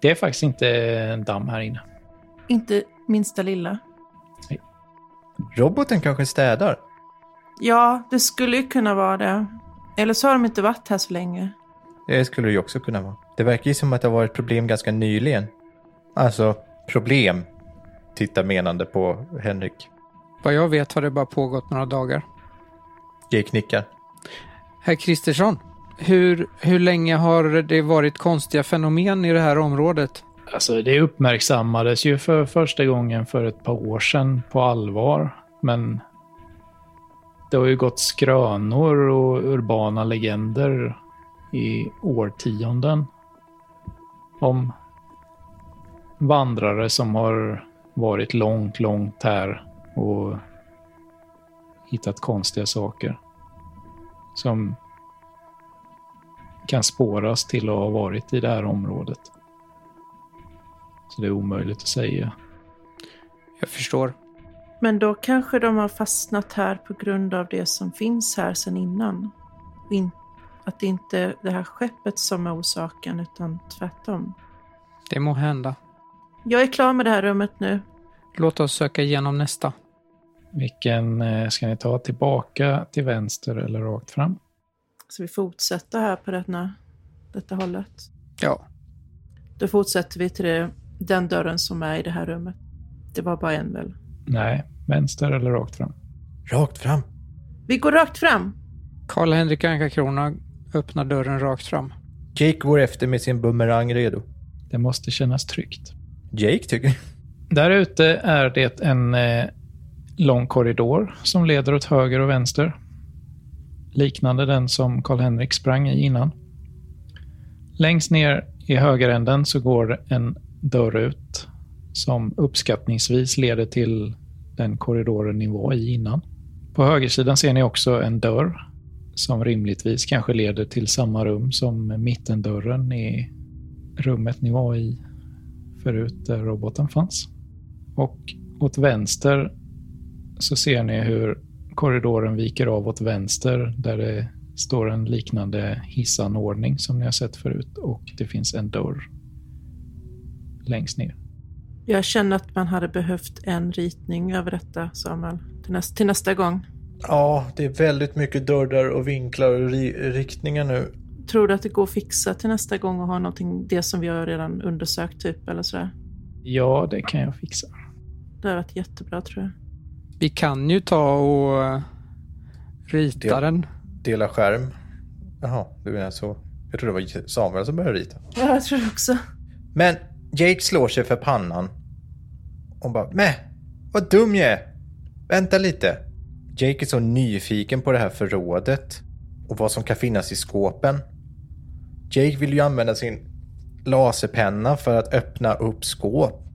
Speaker 1: Det är faktiskt inte en damm här inne.
Speaker 2: Inte minsta lilla.
Speaker 3: Roboten kanske städar.
Speaker 2: Ja, det skulle ju kunna vara det. Eller så har de inte varit här så länge.
Speaker 3: Det skulle det ju också kunna vara. Det verkar ju som att det har varit problem ganska nyligen. Alltså, problem. Titta menande på Henrik.
Speaker 4: Vad jag vet har det bara pågått några dagar.
Speaker 3: Jake nickar.
Speaker 4: Herr Kristersson, hur, hur länge har det varit konstiga fenomen i det här området?
Speaker 1: Alltså, det uppmärksammades ju för första gången för ett par år sedan på allvar, men det har ju gått skrönor och urbana legender i årtionden om vandrare som har varit långt, långt här och hittat konstiga saker som kan spåras till att ha varit i det här området. Så det är omöjligt att säga.
Speaker 4: Jag förstår.
Speaker 2: Men då kanske de har fastnat här på grund av det som finns här sedan innan. In- att det inte är det här skeppet som är orsaken, utan tvärtom.
Speaker 4: Det må hända.
Speaker 2: Jag är klar med det här rummet nu.
Speaker 4: Låt oss söka igenom nästa.
Speaker 1: Vilken eh, ska ni ta? Tillbaka till vänster eller rakt fram?
Speaker 2: Så vi fortsätter här på denna, detta hållet.
Speaker 4: Ja.
Speaker 2: Då fortsätter vi till det, den dörren som är i det här rummet. Det var bara en väl?
Speaker 1: Nej, vänster eller rakt fram?
Speaker 3: Rakt fram.
Speaker 2: Vi går rakt fram.
Speaker 4: Karl-Henrik Anka-Krona öppnar dörren rakt fram.
Speaker 5: Jake går efter med sin bumerang redo.
Speaker 1: Det måste kännas tryggt.
Speaker 5: Jake tycker...
Speaker 1: Där ute är det en eh, lång korridor som leder åt höger och vänster. Liknande den som Karl-Henrik sprang i innan. Längst ner i högeränden så går en dörr ut som uppskattningsvis leder till den korridoren ni var i innan. På högersidan ser ni också en dörr som rimligtvis kanske leder till samma rum som mittendörren i rummet ni var i förut där roboten fanns. Och åt vänster så ser ni hur korridoren viker av åt vänster där det står en liknande hissanordning som ni har sett förut och det finns en dörr längst ner.
Speaker 2: Jag känner att man hade behövt en ritning över detta, Samuel. Till, näst, till nästa gång.
Speaker 3: Ja, det är väldigt mycket dörrar och vinklar och ri- riktningar nu.
Speaker 2: Tror du att det går att fixa till nästa gång och ha någonting, det som vi har redan undersökt typ eller sådär?
Speaker 1: Ja, det kan jag fixa.
Speaker 2: Det hade varit jättebra tror jag.
Speaker 4: Vi kan ju ta och eh, rita
Speaker 3: Det-
Speaker 4: den.
Speaker 3: Dela skärm. Jaha, du menar så. Jag tror det var Samuel som började rita.
Speaker 2: Ja, jag tror också.
Speaker 3: Men Jake slår sig för pannan. Och bara, Mäh, vad dum jag är. Vänta lite. Jake är så nyfiken på det här förrådet och vad som kan finnas i skåpen. Jake vill ju använda sin laserpenna för att öppna upp skåp.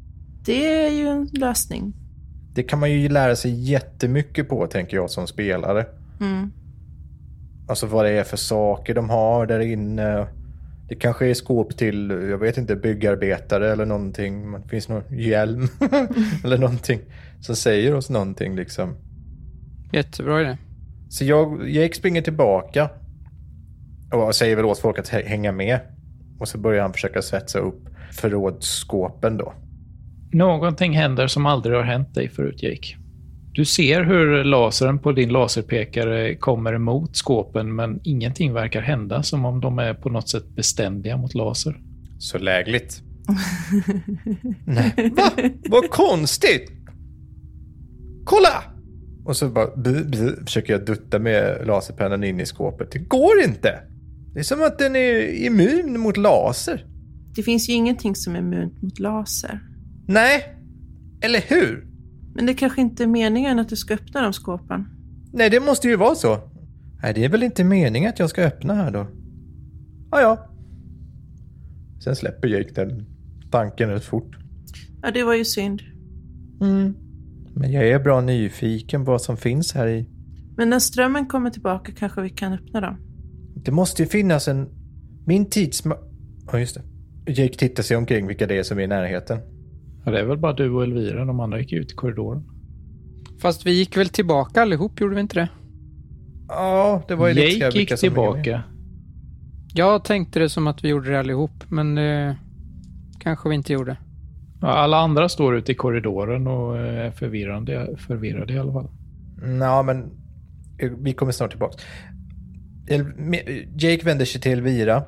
Speaker 2: Det är ju en lösning.
Speaker 3: Det kan man ju lära sig jättemycket på, tänker jag som spelare.
Speaker 2: Mm.
Speaker 3: Alltså vad det är för saker de har där inne. Det kanske är skåp till, jag vet inte, byggarbetare eller någonting. Det finns någon hjälm [laughs] eller någonting som säger oss någonting liksom.
Speaker 4: Jättebra idé.
Speaker 3: Så jag, Jake springer tillbaka och säger väl åt folk att hä- hänga med. Och så börjar han försöka svetsa upp förrådsskåpen då.
Speaker 1: Någonting händer som aldrig har hänt dig förut, Jake. Du ser hur lasern på din laserpekare kommer emot skåpen, men ingenting verkar hända, som om de är på något sätt beständiga mot laser.
Speaker 3: Så [laughs] lägligt. Nej. Va? Vad konstigt! Kolla! Och så bara bu, bu, försöker jag dutta med laserpennan in i skåpet. Det går inte! Det är som att den är immun mot laser.
Speaker 2: Det finns ju ingenting som är immunt mot laser.
Speaker 3: Nej, eller hur?
Speaker 2: Men det kanske inte är meningen att du ska öppna de skåpen.
Speaker 3: Nej, det måste ju vara så. Nej, det är väl inte meningen att jag ska öppna här då. Ja, ja. Sen släpper Jake den tanken rätt fort.
Speaker 2: Ja, det var ju synd.
Speaker 3: Mm. Men jag är bra nyfiken på vad som finns här i.
Speaker 2: Men när strömmen kommer tillbaka kanske vi kan öppna dem.
Speaker 3: Det måste ju finnas en... Min tidsma... Ja, just det. Jake tittar sig omkring vilka det är som är i närheten.
Speaker 1: Ja, det är väl bara du och Elvira, de andra gick ut i korridoren.
Speaker 4: Fast vi gick väl tillbaka allihop, gjorde vi inte det?
Speaker 3: Ja, det var ju lite
Speaker 1: Jake
Speaker 3: vilka
Speaker 1: gick
Speaker 3: som är med.
Speaker 1: tillbaka.
Speaker 4: Jag tänkte det som att vi gjorde det allihop, men det kanske vi inte gjorde.
Speaker 1: Ja, Alla andra står ute i korridoren och eh, är förvirrande, förvirrade i alla fall.
Speaker 3: Ja, men eh, vi kommer snart tillbaka. El- me- Jake vänder sig till Elvira.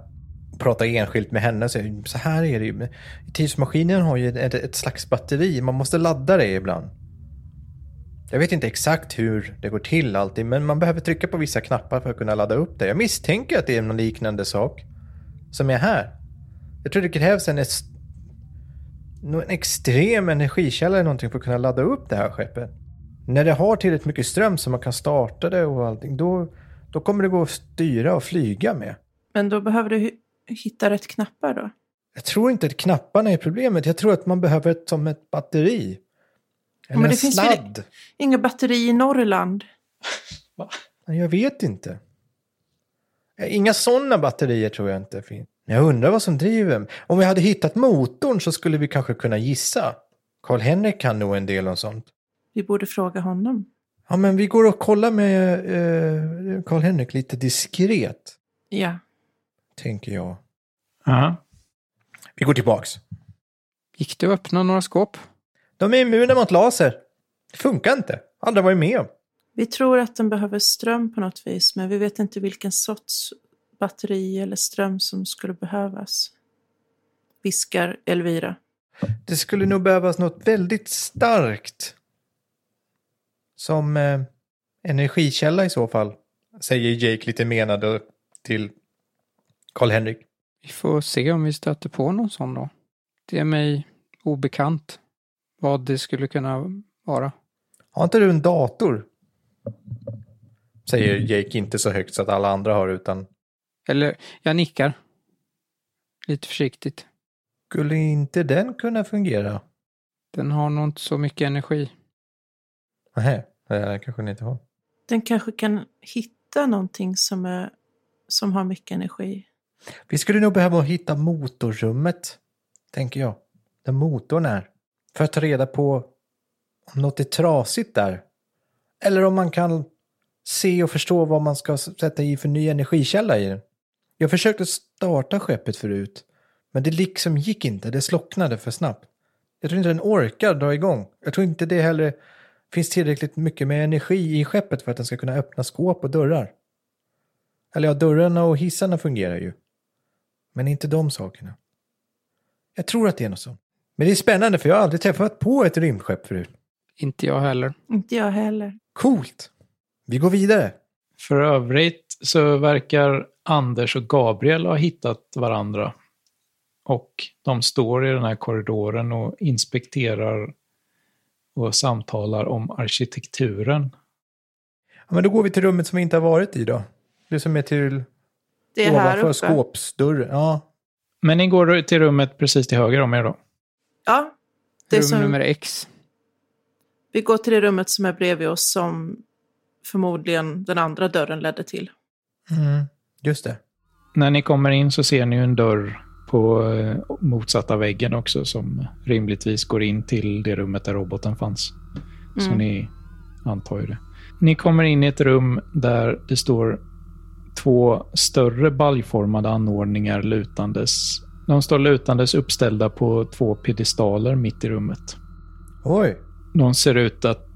Speaker 3: Pratar enskilt med henne. Så, så här är det ju. Tidsmaskinen har ju ett, ett slags batteri. Man måste ladda det ibland. Jag vet inte exakt hur det går till alltid. Men man behöver trycka på vissa knappar för att kunna ladda upp det. Jag misstänker att det är någon liknande sak. Som är här. Jag tror det krävs en, es- nå- en extrem energikälla eller någonting för att kunna ladda upp det här skeppet. När det har tillräckligt mycket ström så man kan starta det och allting, då, då kommer det gå att styra och flyga med.
Speaker 2: Men då behöver du hi- hitta rätt knappar då.
Speaker 3: Jag tror inte att knapparna är problemet. Jag tror att man behöver ett, som ett batteri. Eller
Speaker 2: men det
Speaker 3: en
Speaker 2: finns väl-
Speaker 3: sladd.
Speaker 2: Inga batteri i Norrland.
Speaker 3: Nej, Jag vet inte. Inga sådana batterier tror jag inte finns. Men Jag undrar vad som driver. Om vi hade hittat motorn så skulle vi kanske kunna gissa. Karl-Henrik kan nog en del om sånt.
Speaker 2: Vi borde fråga honom.
Speaker 3: Ja, men vi går och kollar med eh, Karl-Henrik lite diskret,
Speaker 2: Ja.
Speaker 3: tänker jag.
Speaker 1: Aha.
Speaker 3: Vi går tillbaks.
Speaker 4: Gick det att öppna några skåp?
Speaker 3: De är immuna mot laser. Det funkar inte. Aldrig varit med om.
Speaker 2: Vi tror att den behöver ström på något vis, men vi vet inte vilken sorts batteri eller ström som skulle behövas. Viskar Elvira.
Speaker 3: Det skulle nog behövas något väldigt starkt. Som eh, energikälla i så fall. Säger Jake lite menande till Karl-Henrik.
Speaker 4: Vi får se om vi stöter på någon sån då. Det är mig obekant vad det skulle kunna vara.
Speaker 3: Har inte du en dator? Säger Jake inte så högt så att alla andra hör utan
Speaker 4: Eller, jag nickar. Lite försiktigt.
Speaker 3: skulle inte den kunna fungera?
Speaker 4: Den har nog inte så mycket energi.
Speaker 3: Nej, det kanske ni inte har.
Speaker 2: Den kanske kan hitta någonting som, är, som har mycket energi.
Speaker 3: Vi skulle nog behöva hitta motorrummet, tänker jag. Där motorn är. För att ta reda på om något är trasigt där. Eller om man kan se och förstå vad man ska s- sätta i för ny energikälla i den. Jag försökte starta skeppet förut, men det liksom gick inte. Det slocknade för snabbt. Jag tror inte den orkar dra igång. Jag tror inte det heller finns tillräckligt mycket med energi i skeppet för att den ska kunna öppna skåp och dörrar. Eller ja, dörrarna och hissarna fungerar ju. Men inte de sakerna. Jag tror att det är något sånt. Men det är spännande för jag har aldrig träffat på ett rymdskepp förut.
Speaker 4: Inte jag heller.
Speaker 2: Inte jag heller.
Speaker 3: Coolt! Vi går vidare.
Speaker 1: För övrigt så verkar Anders och Gabriel ha hittat varandra. Och de står i den här korridoren och inspekterar och samtalar om arkitekturen.
Speaker 3: Ja, men då går vi till rummet som vi inte har varit i då. Det som är till
Speaker 2: Det är här
Speaker 3: ovanför
Speaker 2: uppe.
Speaker 3: skåpsdörren. Ja.
Speaker 1: Men ni går till rummet precis till höger om er då.
Speaker 2: Ja. Det är
Speaker 4: Rum
Speaker 2: som,
Speaker 4: nummer X.
Speaker 2: Vi går till det rummet som är bredvid oss som förmodligen den andra dörren ledde till.
Speaker 3: Mm, just det.
Speaker 1: När ni kommer in så ser ni ju en dörr på eh, motsatta väggen också som rimligtvis går in till det rummet där roboten fanns. Så
Speaker 2: Mm.
Speaker 1: ni antar ju det. Ni kommer in i ett rum där det står två större baljformade anordningar lutandes. De står lutandes uppställda på två piedestaler mitt i rummet.
Speaker 3: Oj.
Speaker 1: De ser ut att...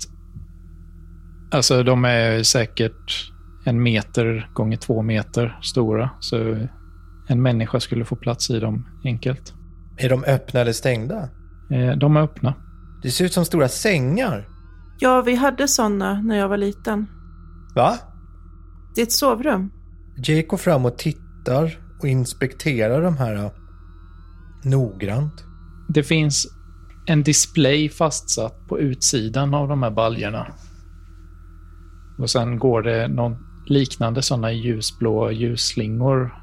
Speaker 1: Alltså de är säkert en meter gånger två meter stora. Så en människa skulle få plats i dem enkelt.
Speaker 3: Är de öppna eller stängda?
Speaker 1: Eh, De är öppna.
Speaker 3: Det ser ut som stora sängar.
Speaker 2: Ja, vi hade sådana när jag var liten.
Speaker 3: Va?
Speaker 2: Det är ett sovrum.
Speaker 3: Jake går fram och tittar och inspekterar de här ja, noggrant.
Speaker 1: Det finns en display fastsatt på utsidan av de här baljorna. Och sen går det någon liknande sådana ljusblå ljusslingor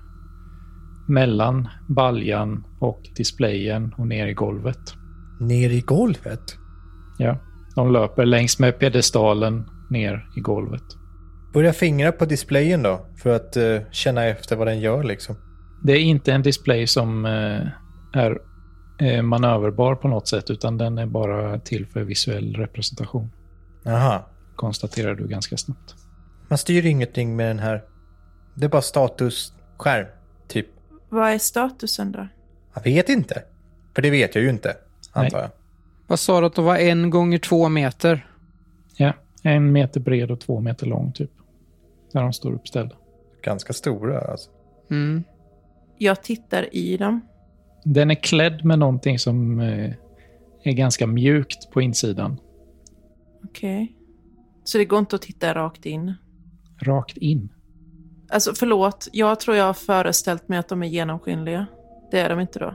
Speaker 1: mellan baljan och displayen och ner i golvet.
Speaker 3: Ner i golvet?
Speaker 1: Ja, de löper längs med piedestalen ner i golvet.
Speaker 3: Börja fingra på displayen då, för att eh, känna efter vad den gör liksom.
Speaker 1: Det är inte en display som eh, är eh, manöverbar på något sätt, utan den är bara till för visuell representation.
Speaker 3: Aha.
Speaker 1: Konstaterar du ganska snabbt.
Speaker 3: Man styr ingenting med den här. Det är bara statusskärm, typ.
Speaker 2: Vad är statusen då?
Speaker 3: Jag vet inte. För det vet jag ju inte, antar jag.
Speaker 4: Vad sa du att det var en gånger två meter?
Speaker 1: Ja, en meter bred och två meter lång typ. Där de står uppställda.
Speaker 3: Ganska stora alltså.
Speaker 4: Mm.
Speaker 2: Jag tittar i dem.
Speaker 1: Den är klädd med någonting som eh, är ganska mjukt på insidan.
Speaker 2: Okej. Så det går inte att titta rakt in?
Speaker 1: Rakt in.
Speaker 2: Alltså förlåt, jag tror jag har föreställt mig att de är genomskinliga. Det är de inte då.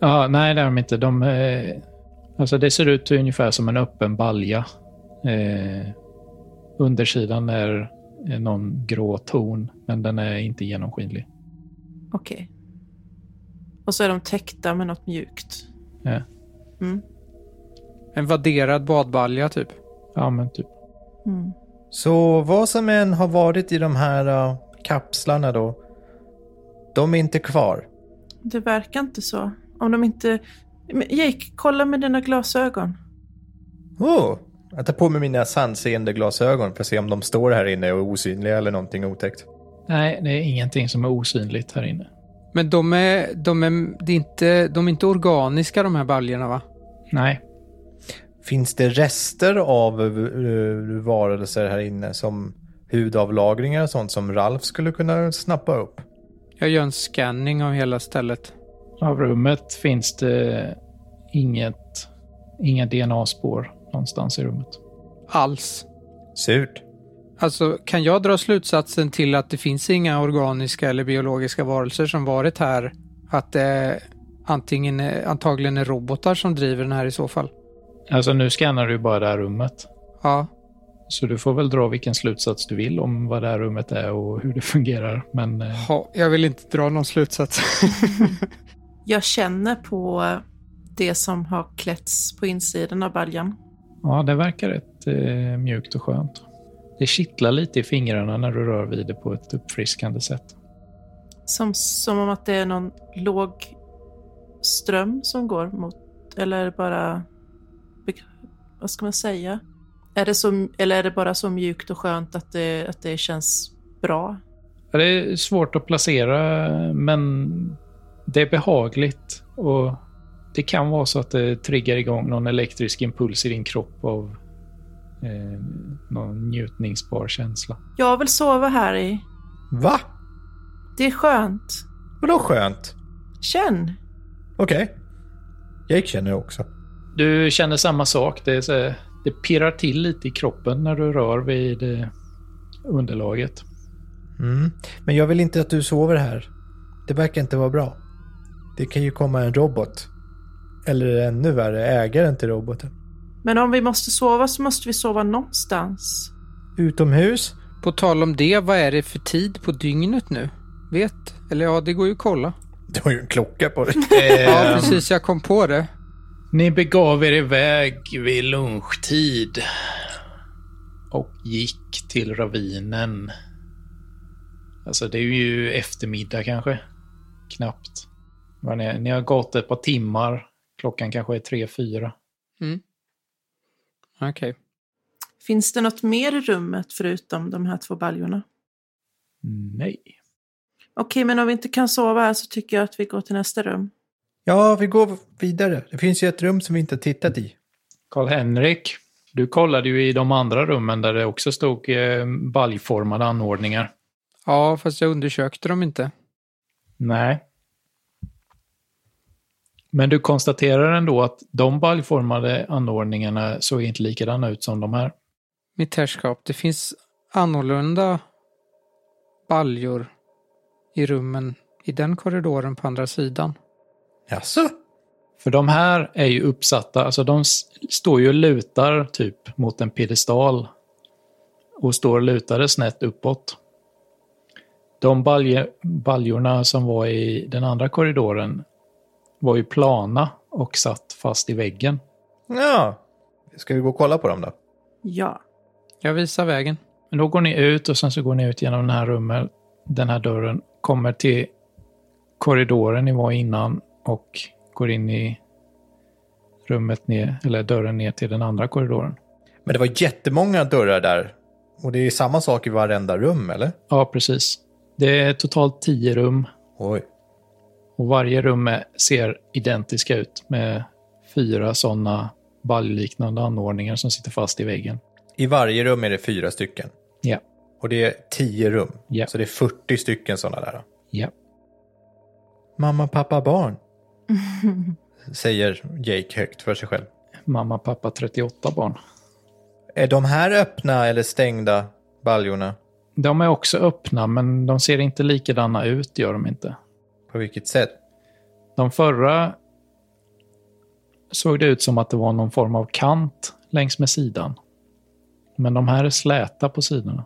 Speaker 1: Ja, nej, det är de inte. De, eh, alltså det ser ut ungefär som en öppen balja. Eh, undersidan är eh, någon grå ton, men den är inte genomskinlig.
Speaker 2: Okej. Och så är de täckta med något mjukt.
Speaker 1: Ja,
Speaker 2: Mm.
Speaker 4: En vadderad badbalja typ.
Speaker 1: ja men typ.
Speaker 2: Mm.
Speaker 3: Så vad som än har varit i de här eh, kapslarna då, de är inte kvar.
Speaker 2: Det verkar inte så. Om de inte... Men Jake, kolla med dina glasögon.
Speaker 3: Oh, jag tar på mig mina sandseende glasögon för att se om de står här inne och är osynliga eller någonting otäckt.
Speaker 1: Nej, det är ingenting som är osynligt här inne.
Speaker 4: Men de är, de är, det är inte, de är inte organiska de här baljorna va?
Speaker 1: Nej,
Speaker 3: Finns det rester av eh, varelser här inne som hudavlagringar och sånt som Ralf skulle kunna snappa upp?
Speaker 4: Jag gör en scanning av hela stället.
Speaker 1: av rummet finns det inget, inga DNA-spår någonstans i rummet.
Speaker 4: Alls.
Speaker 3: Surt.
Speaker 4: Alltså, kan jag dra slutsatsen till att det finns inga organiska eller biologiska varelser som varit här att det antingen, antagligen är robotar som driver den här i så fall.
Speaker 1: Alltså nu scannar du ju bara det här rummet.
Speaker 4: Ja,
Speaker 1: Så du får väl dra vilken slutsats du vill om vad det här rummet är och hur det fungerar. Men eh,
Speaker 4: ha, jag vill inte dra någon slutsats. [laughs]
Speaker 2: Jag känner på det som har klätts på insidan av baljan.
Speaker 1: ja, det verkar rätt eh, mjukt och skönt. Det kittlar lite i fingrarna när du rör vid det på ett uppfriskande sätt.
Speaker 2: Som, som om att det är någon låg ström som går mot, eller är det bara, vad ska man säga? Är det så, eller är det bara så mjukt och skönt att det, att det känns bra?
Speaker 1: Ja, Det är svårt att placera, men det är behagligt. Och det kan vara så att det triggar igång någon elektrisk impuls i din kropp av eh, någon njutningsbar känsla.
Speaker 2: Jag vill sova här i.
Speaker 3: Va?
Speaker 2: Det är skönt.
Speaker 3: Vadå skönt?
Speaker 2: Känn.
Speaker 3: Okej. Jake känner det också.
Speaker 1: Du känner samma sak. Det, är så här, det pirrar till lite i kroppen när du rör vid eh, underlaget.
Speaker 3: Mm. Men jag vill inte att du sover här. Det verkar inte vara bra. Det kan ju komma en robot. Eller ännu värre, ägaren till roboten.
Speaker 2: Men om vi måste sova så måste vi sova någonstans.
Speaker 3: Utomhus?
Speaker 4: på tal om det, vad är det för tid på dygnet nu? Vet? Eller ja, det går ju att kolla.
Speaker 3: Du har ju en klocka [laughs] på dig. Eh.
Speaker 4: Ja, precis. Jag kom på det.
Speaker 1: Ni begav er iväg vid lunchtid och gick till ravinen. Alltså, det är ju eftermiddag kanske. Knappt. Vad Ni, ni har gått ett par timmar. Klockan kanske är tre, fyra.
Speaker 4: Mm. Okej.
Speaker 2: Finns det något mer i rummet förutom de här två baljorna?
Speaker 1: Nej.
Speaker 2: Okej, men om vi inte kan sova här så tycker jag att vi går till nästa rum.
Speaker 3: Ja, vi går vidare. Det finns ju ett rum som vi inte har tittat i.
Speaker 1: Karl-Henrik, du kollade ju i de andra rummen där det också stod eh, baljformade anordningar.
Speaker 4: Ja, fast jag undersökte dem inte.
Speaker 1: Nej. Men du konstaterar ändå att de baljformade anordningarna såg inte likadana ut som de här.
Speaker 4: Mitt herrskap, det finns annorlunda baljor i rummen i den korridoren på andra sidan.
Speaker 3: Jaså?
Speaker 1: För de här är ju uppsatta, alltså de s- står ju och lutar typ mot en piedestal och står lutade snett uppåt. De balje, baljorna som var i den andra korridoren var ju plana och satt fast i väggen.
Speaker 3: Ja. Ska vi gå och kolla på dem då?
Speaker 2: Ja.
Speaker 4: Jag visar vägen.
Speaker 1: Men då går ni ut och sen så går ni ut genom den här rummet, den här dörren, kommer till korridoren ni var innan och går in i rummet ner, eller dörren ner till den andra korridoren.
Speaker 3: Men det var jättemånga dörrar där. Och det är samma sak i varenda rum, eller?
Speaker 1: Ja, precis. Det är totalt tio rum
Speaker 3: Oj.
Speaker 1: och varje rum är, ser identiska ut med fyra sådana baljliknande anordningar som sitter fast i väggen.
Speaker 3: I varje rum är det fyra stycken.
Speaker 1: Ja,
Speaker 3: Och det är tio rum.
Speaker 1: Ja.
Speaker 3: Så det är 40 stycken sådana där.
Speaker 1: ja.
Speaker 3: Mamma,
Speaker 1: [laughs]
Speaker 3: pappa, barn. Säger Jake högt för sig själv.
Speaker 1: Mamma, pappa, 38 barn.
Speaker 3: Är de här öppna eller stängda baljorna?
Speaker 1: De är också öppna, men de ser inte likadana ut, gör de inte.
Speaker 3: På vilket sätt?
Speaker 1: De förra såg det ut som att det var någon form av kant längs med sidan. Men de här är släta på sidorna.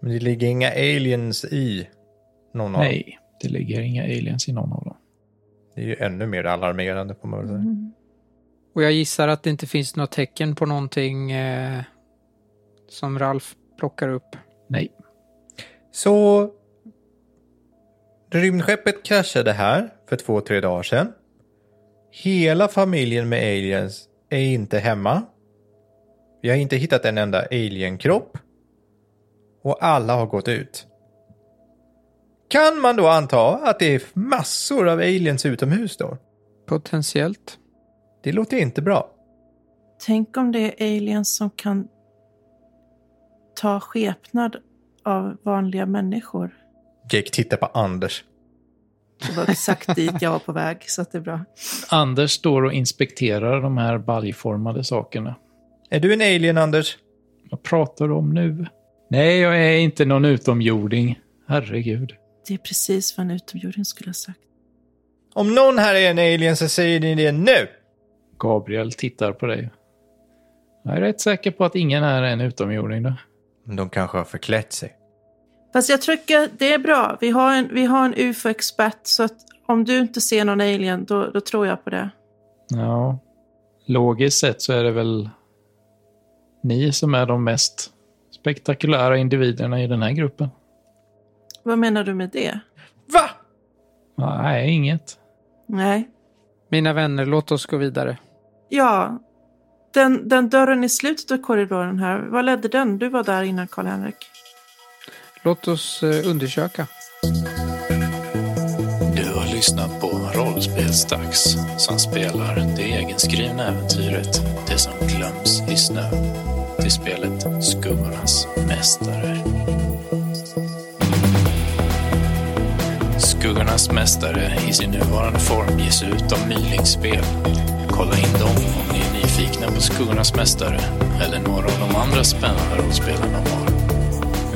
Speaker 3: Men det ligger inga aliens i någon av dem.
Speaker 1: Nej, det ligger inga aliens i någon av dem.
Speaker 3: Det är ju ännu mer alarmerande får man väl säga.
Speaker 4: Och jag gissar att det inte finns några tecken på någonting eh, som Ralf plockar upp.
Speaker 1: Nej.
Speaker 3: Så rymdskeppet kraschade här för två, tre dagar sedan. Hela familjen med aliens är inte hemma. Vi har inte hittat en enda alienkropp. Och alla har gått ut. Kan man då anta att det är massor av aliens utomhus då?
Speaker 4: Potentiellt.
Speaker 3: Det låter inte bra.
Speaker 2: Tänk om det är aliens som kan ta skepnad av vanliga människor.
Speaker 3: Jake tittar på Anders.
Speaker 2: Det var exakt dit jag var på väg, så att det är bra.
Speaker 1: Anders står och inspekterar de här baljformade sakerna.
Speaker 3: Är du en alien Anders?
Speaker 1: Vad pratar du om nu? Nej, jag är inte någon utomjording. Herregud.
Speaker 2: Det är precis vad en utomjording skulle ha sagt.
Speaker 3: Om någon här är en alien så säger ni det nu!
Speaker 6: Gabriel tittar på dig. Jag är rätt säker på att ingen här är en utomjording. Då.
Speaker 7: De kanske har förklätt sig.
Speaker 2: Fast jag tycker det är bra. Vi har en, vi har en UFO-expert så att om du inte ser någon alien då, då tror jag på det.
Speaker 6: Ja. Logiskt sett så är det väl ni som är de mest spektakulära individerna i den här gruppen.
Speaker 2: Vad menar du med det?
Speaker 3: Va?
Speaker 6: Nej, inget.
Speaker 2: Nej.
Speaker 4: Mina vänner, låt oss gå vidare.
Speaker 2: Ja. Den, den dörren i slutet av korridoren här, vad ledde den? Du var där innan Karl-Henrik.
Speaker 4: Låt oss eh, undersöka.
Speaker 1: Du har lyssnat på Rollspelsdags som spelar det egenskrivna äventyret Det som glöms i snö till spelet Skuggornas mästare. Skuggornas mästare i sin nuvarande form ges ut av Mylingspel. Kolla in dem om ni är nyfikna på Skuggornas mästare eller några av de andra spännande rollspelen de har.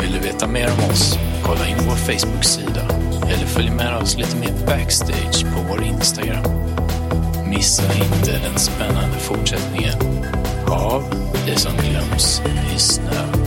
Speaker 1: Vill du veta mer om oss? Kolla in vår Facebook-sida eller följ med oss lite mer backstage på vår Instagram. Missa inte den spännande fortsättningen av Det som glöms i snö.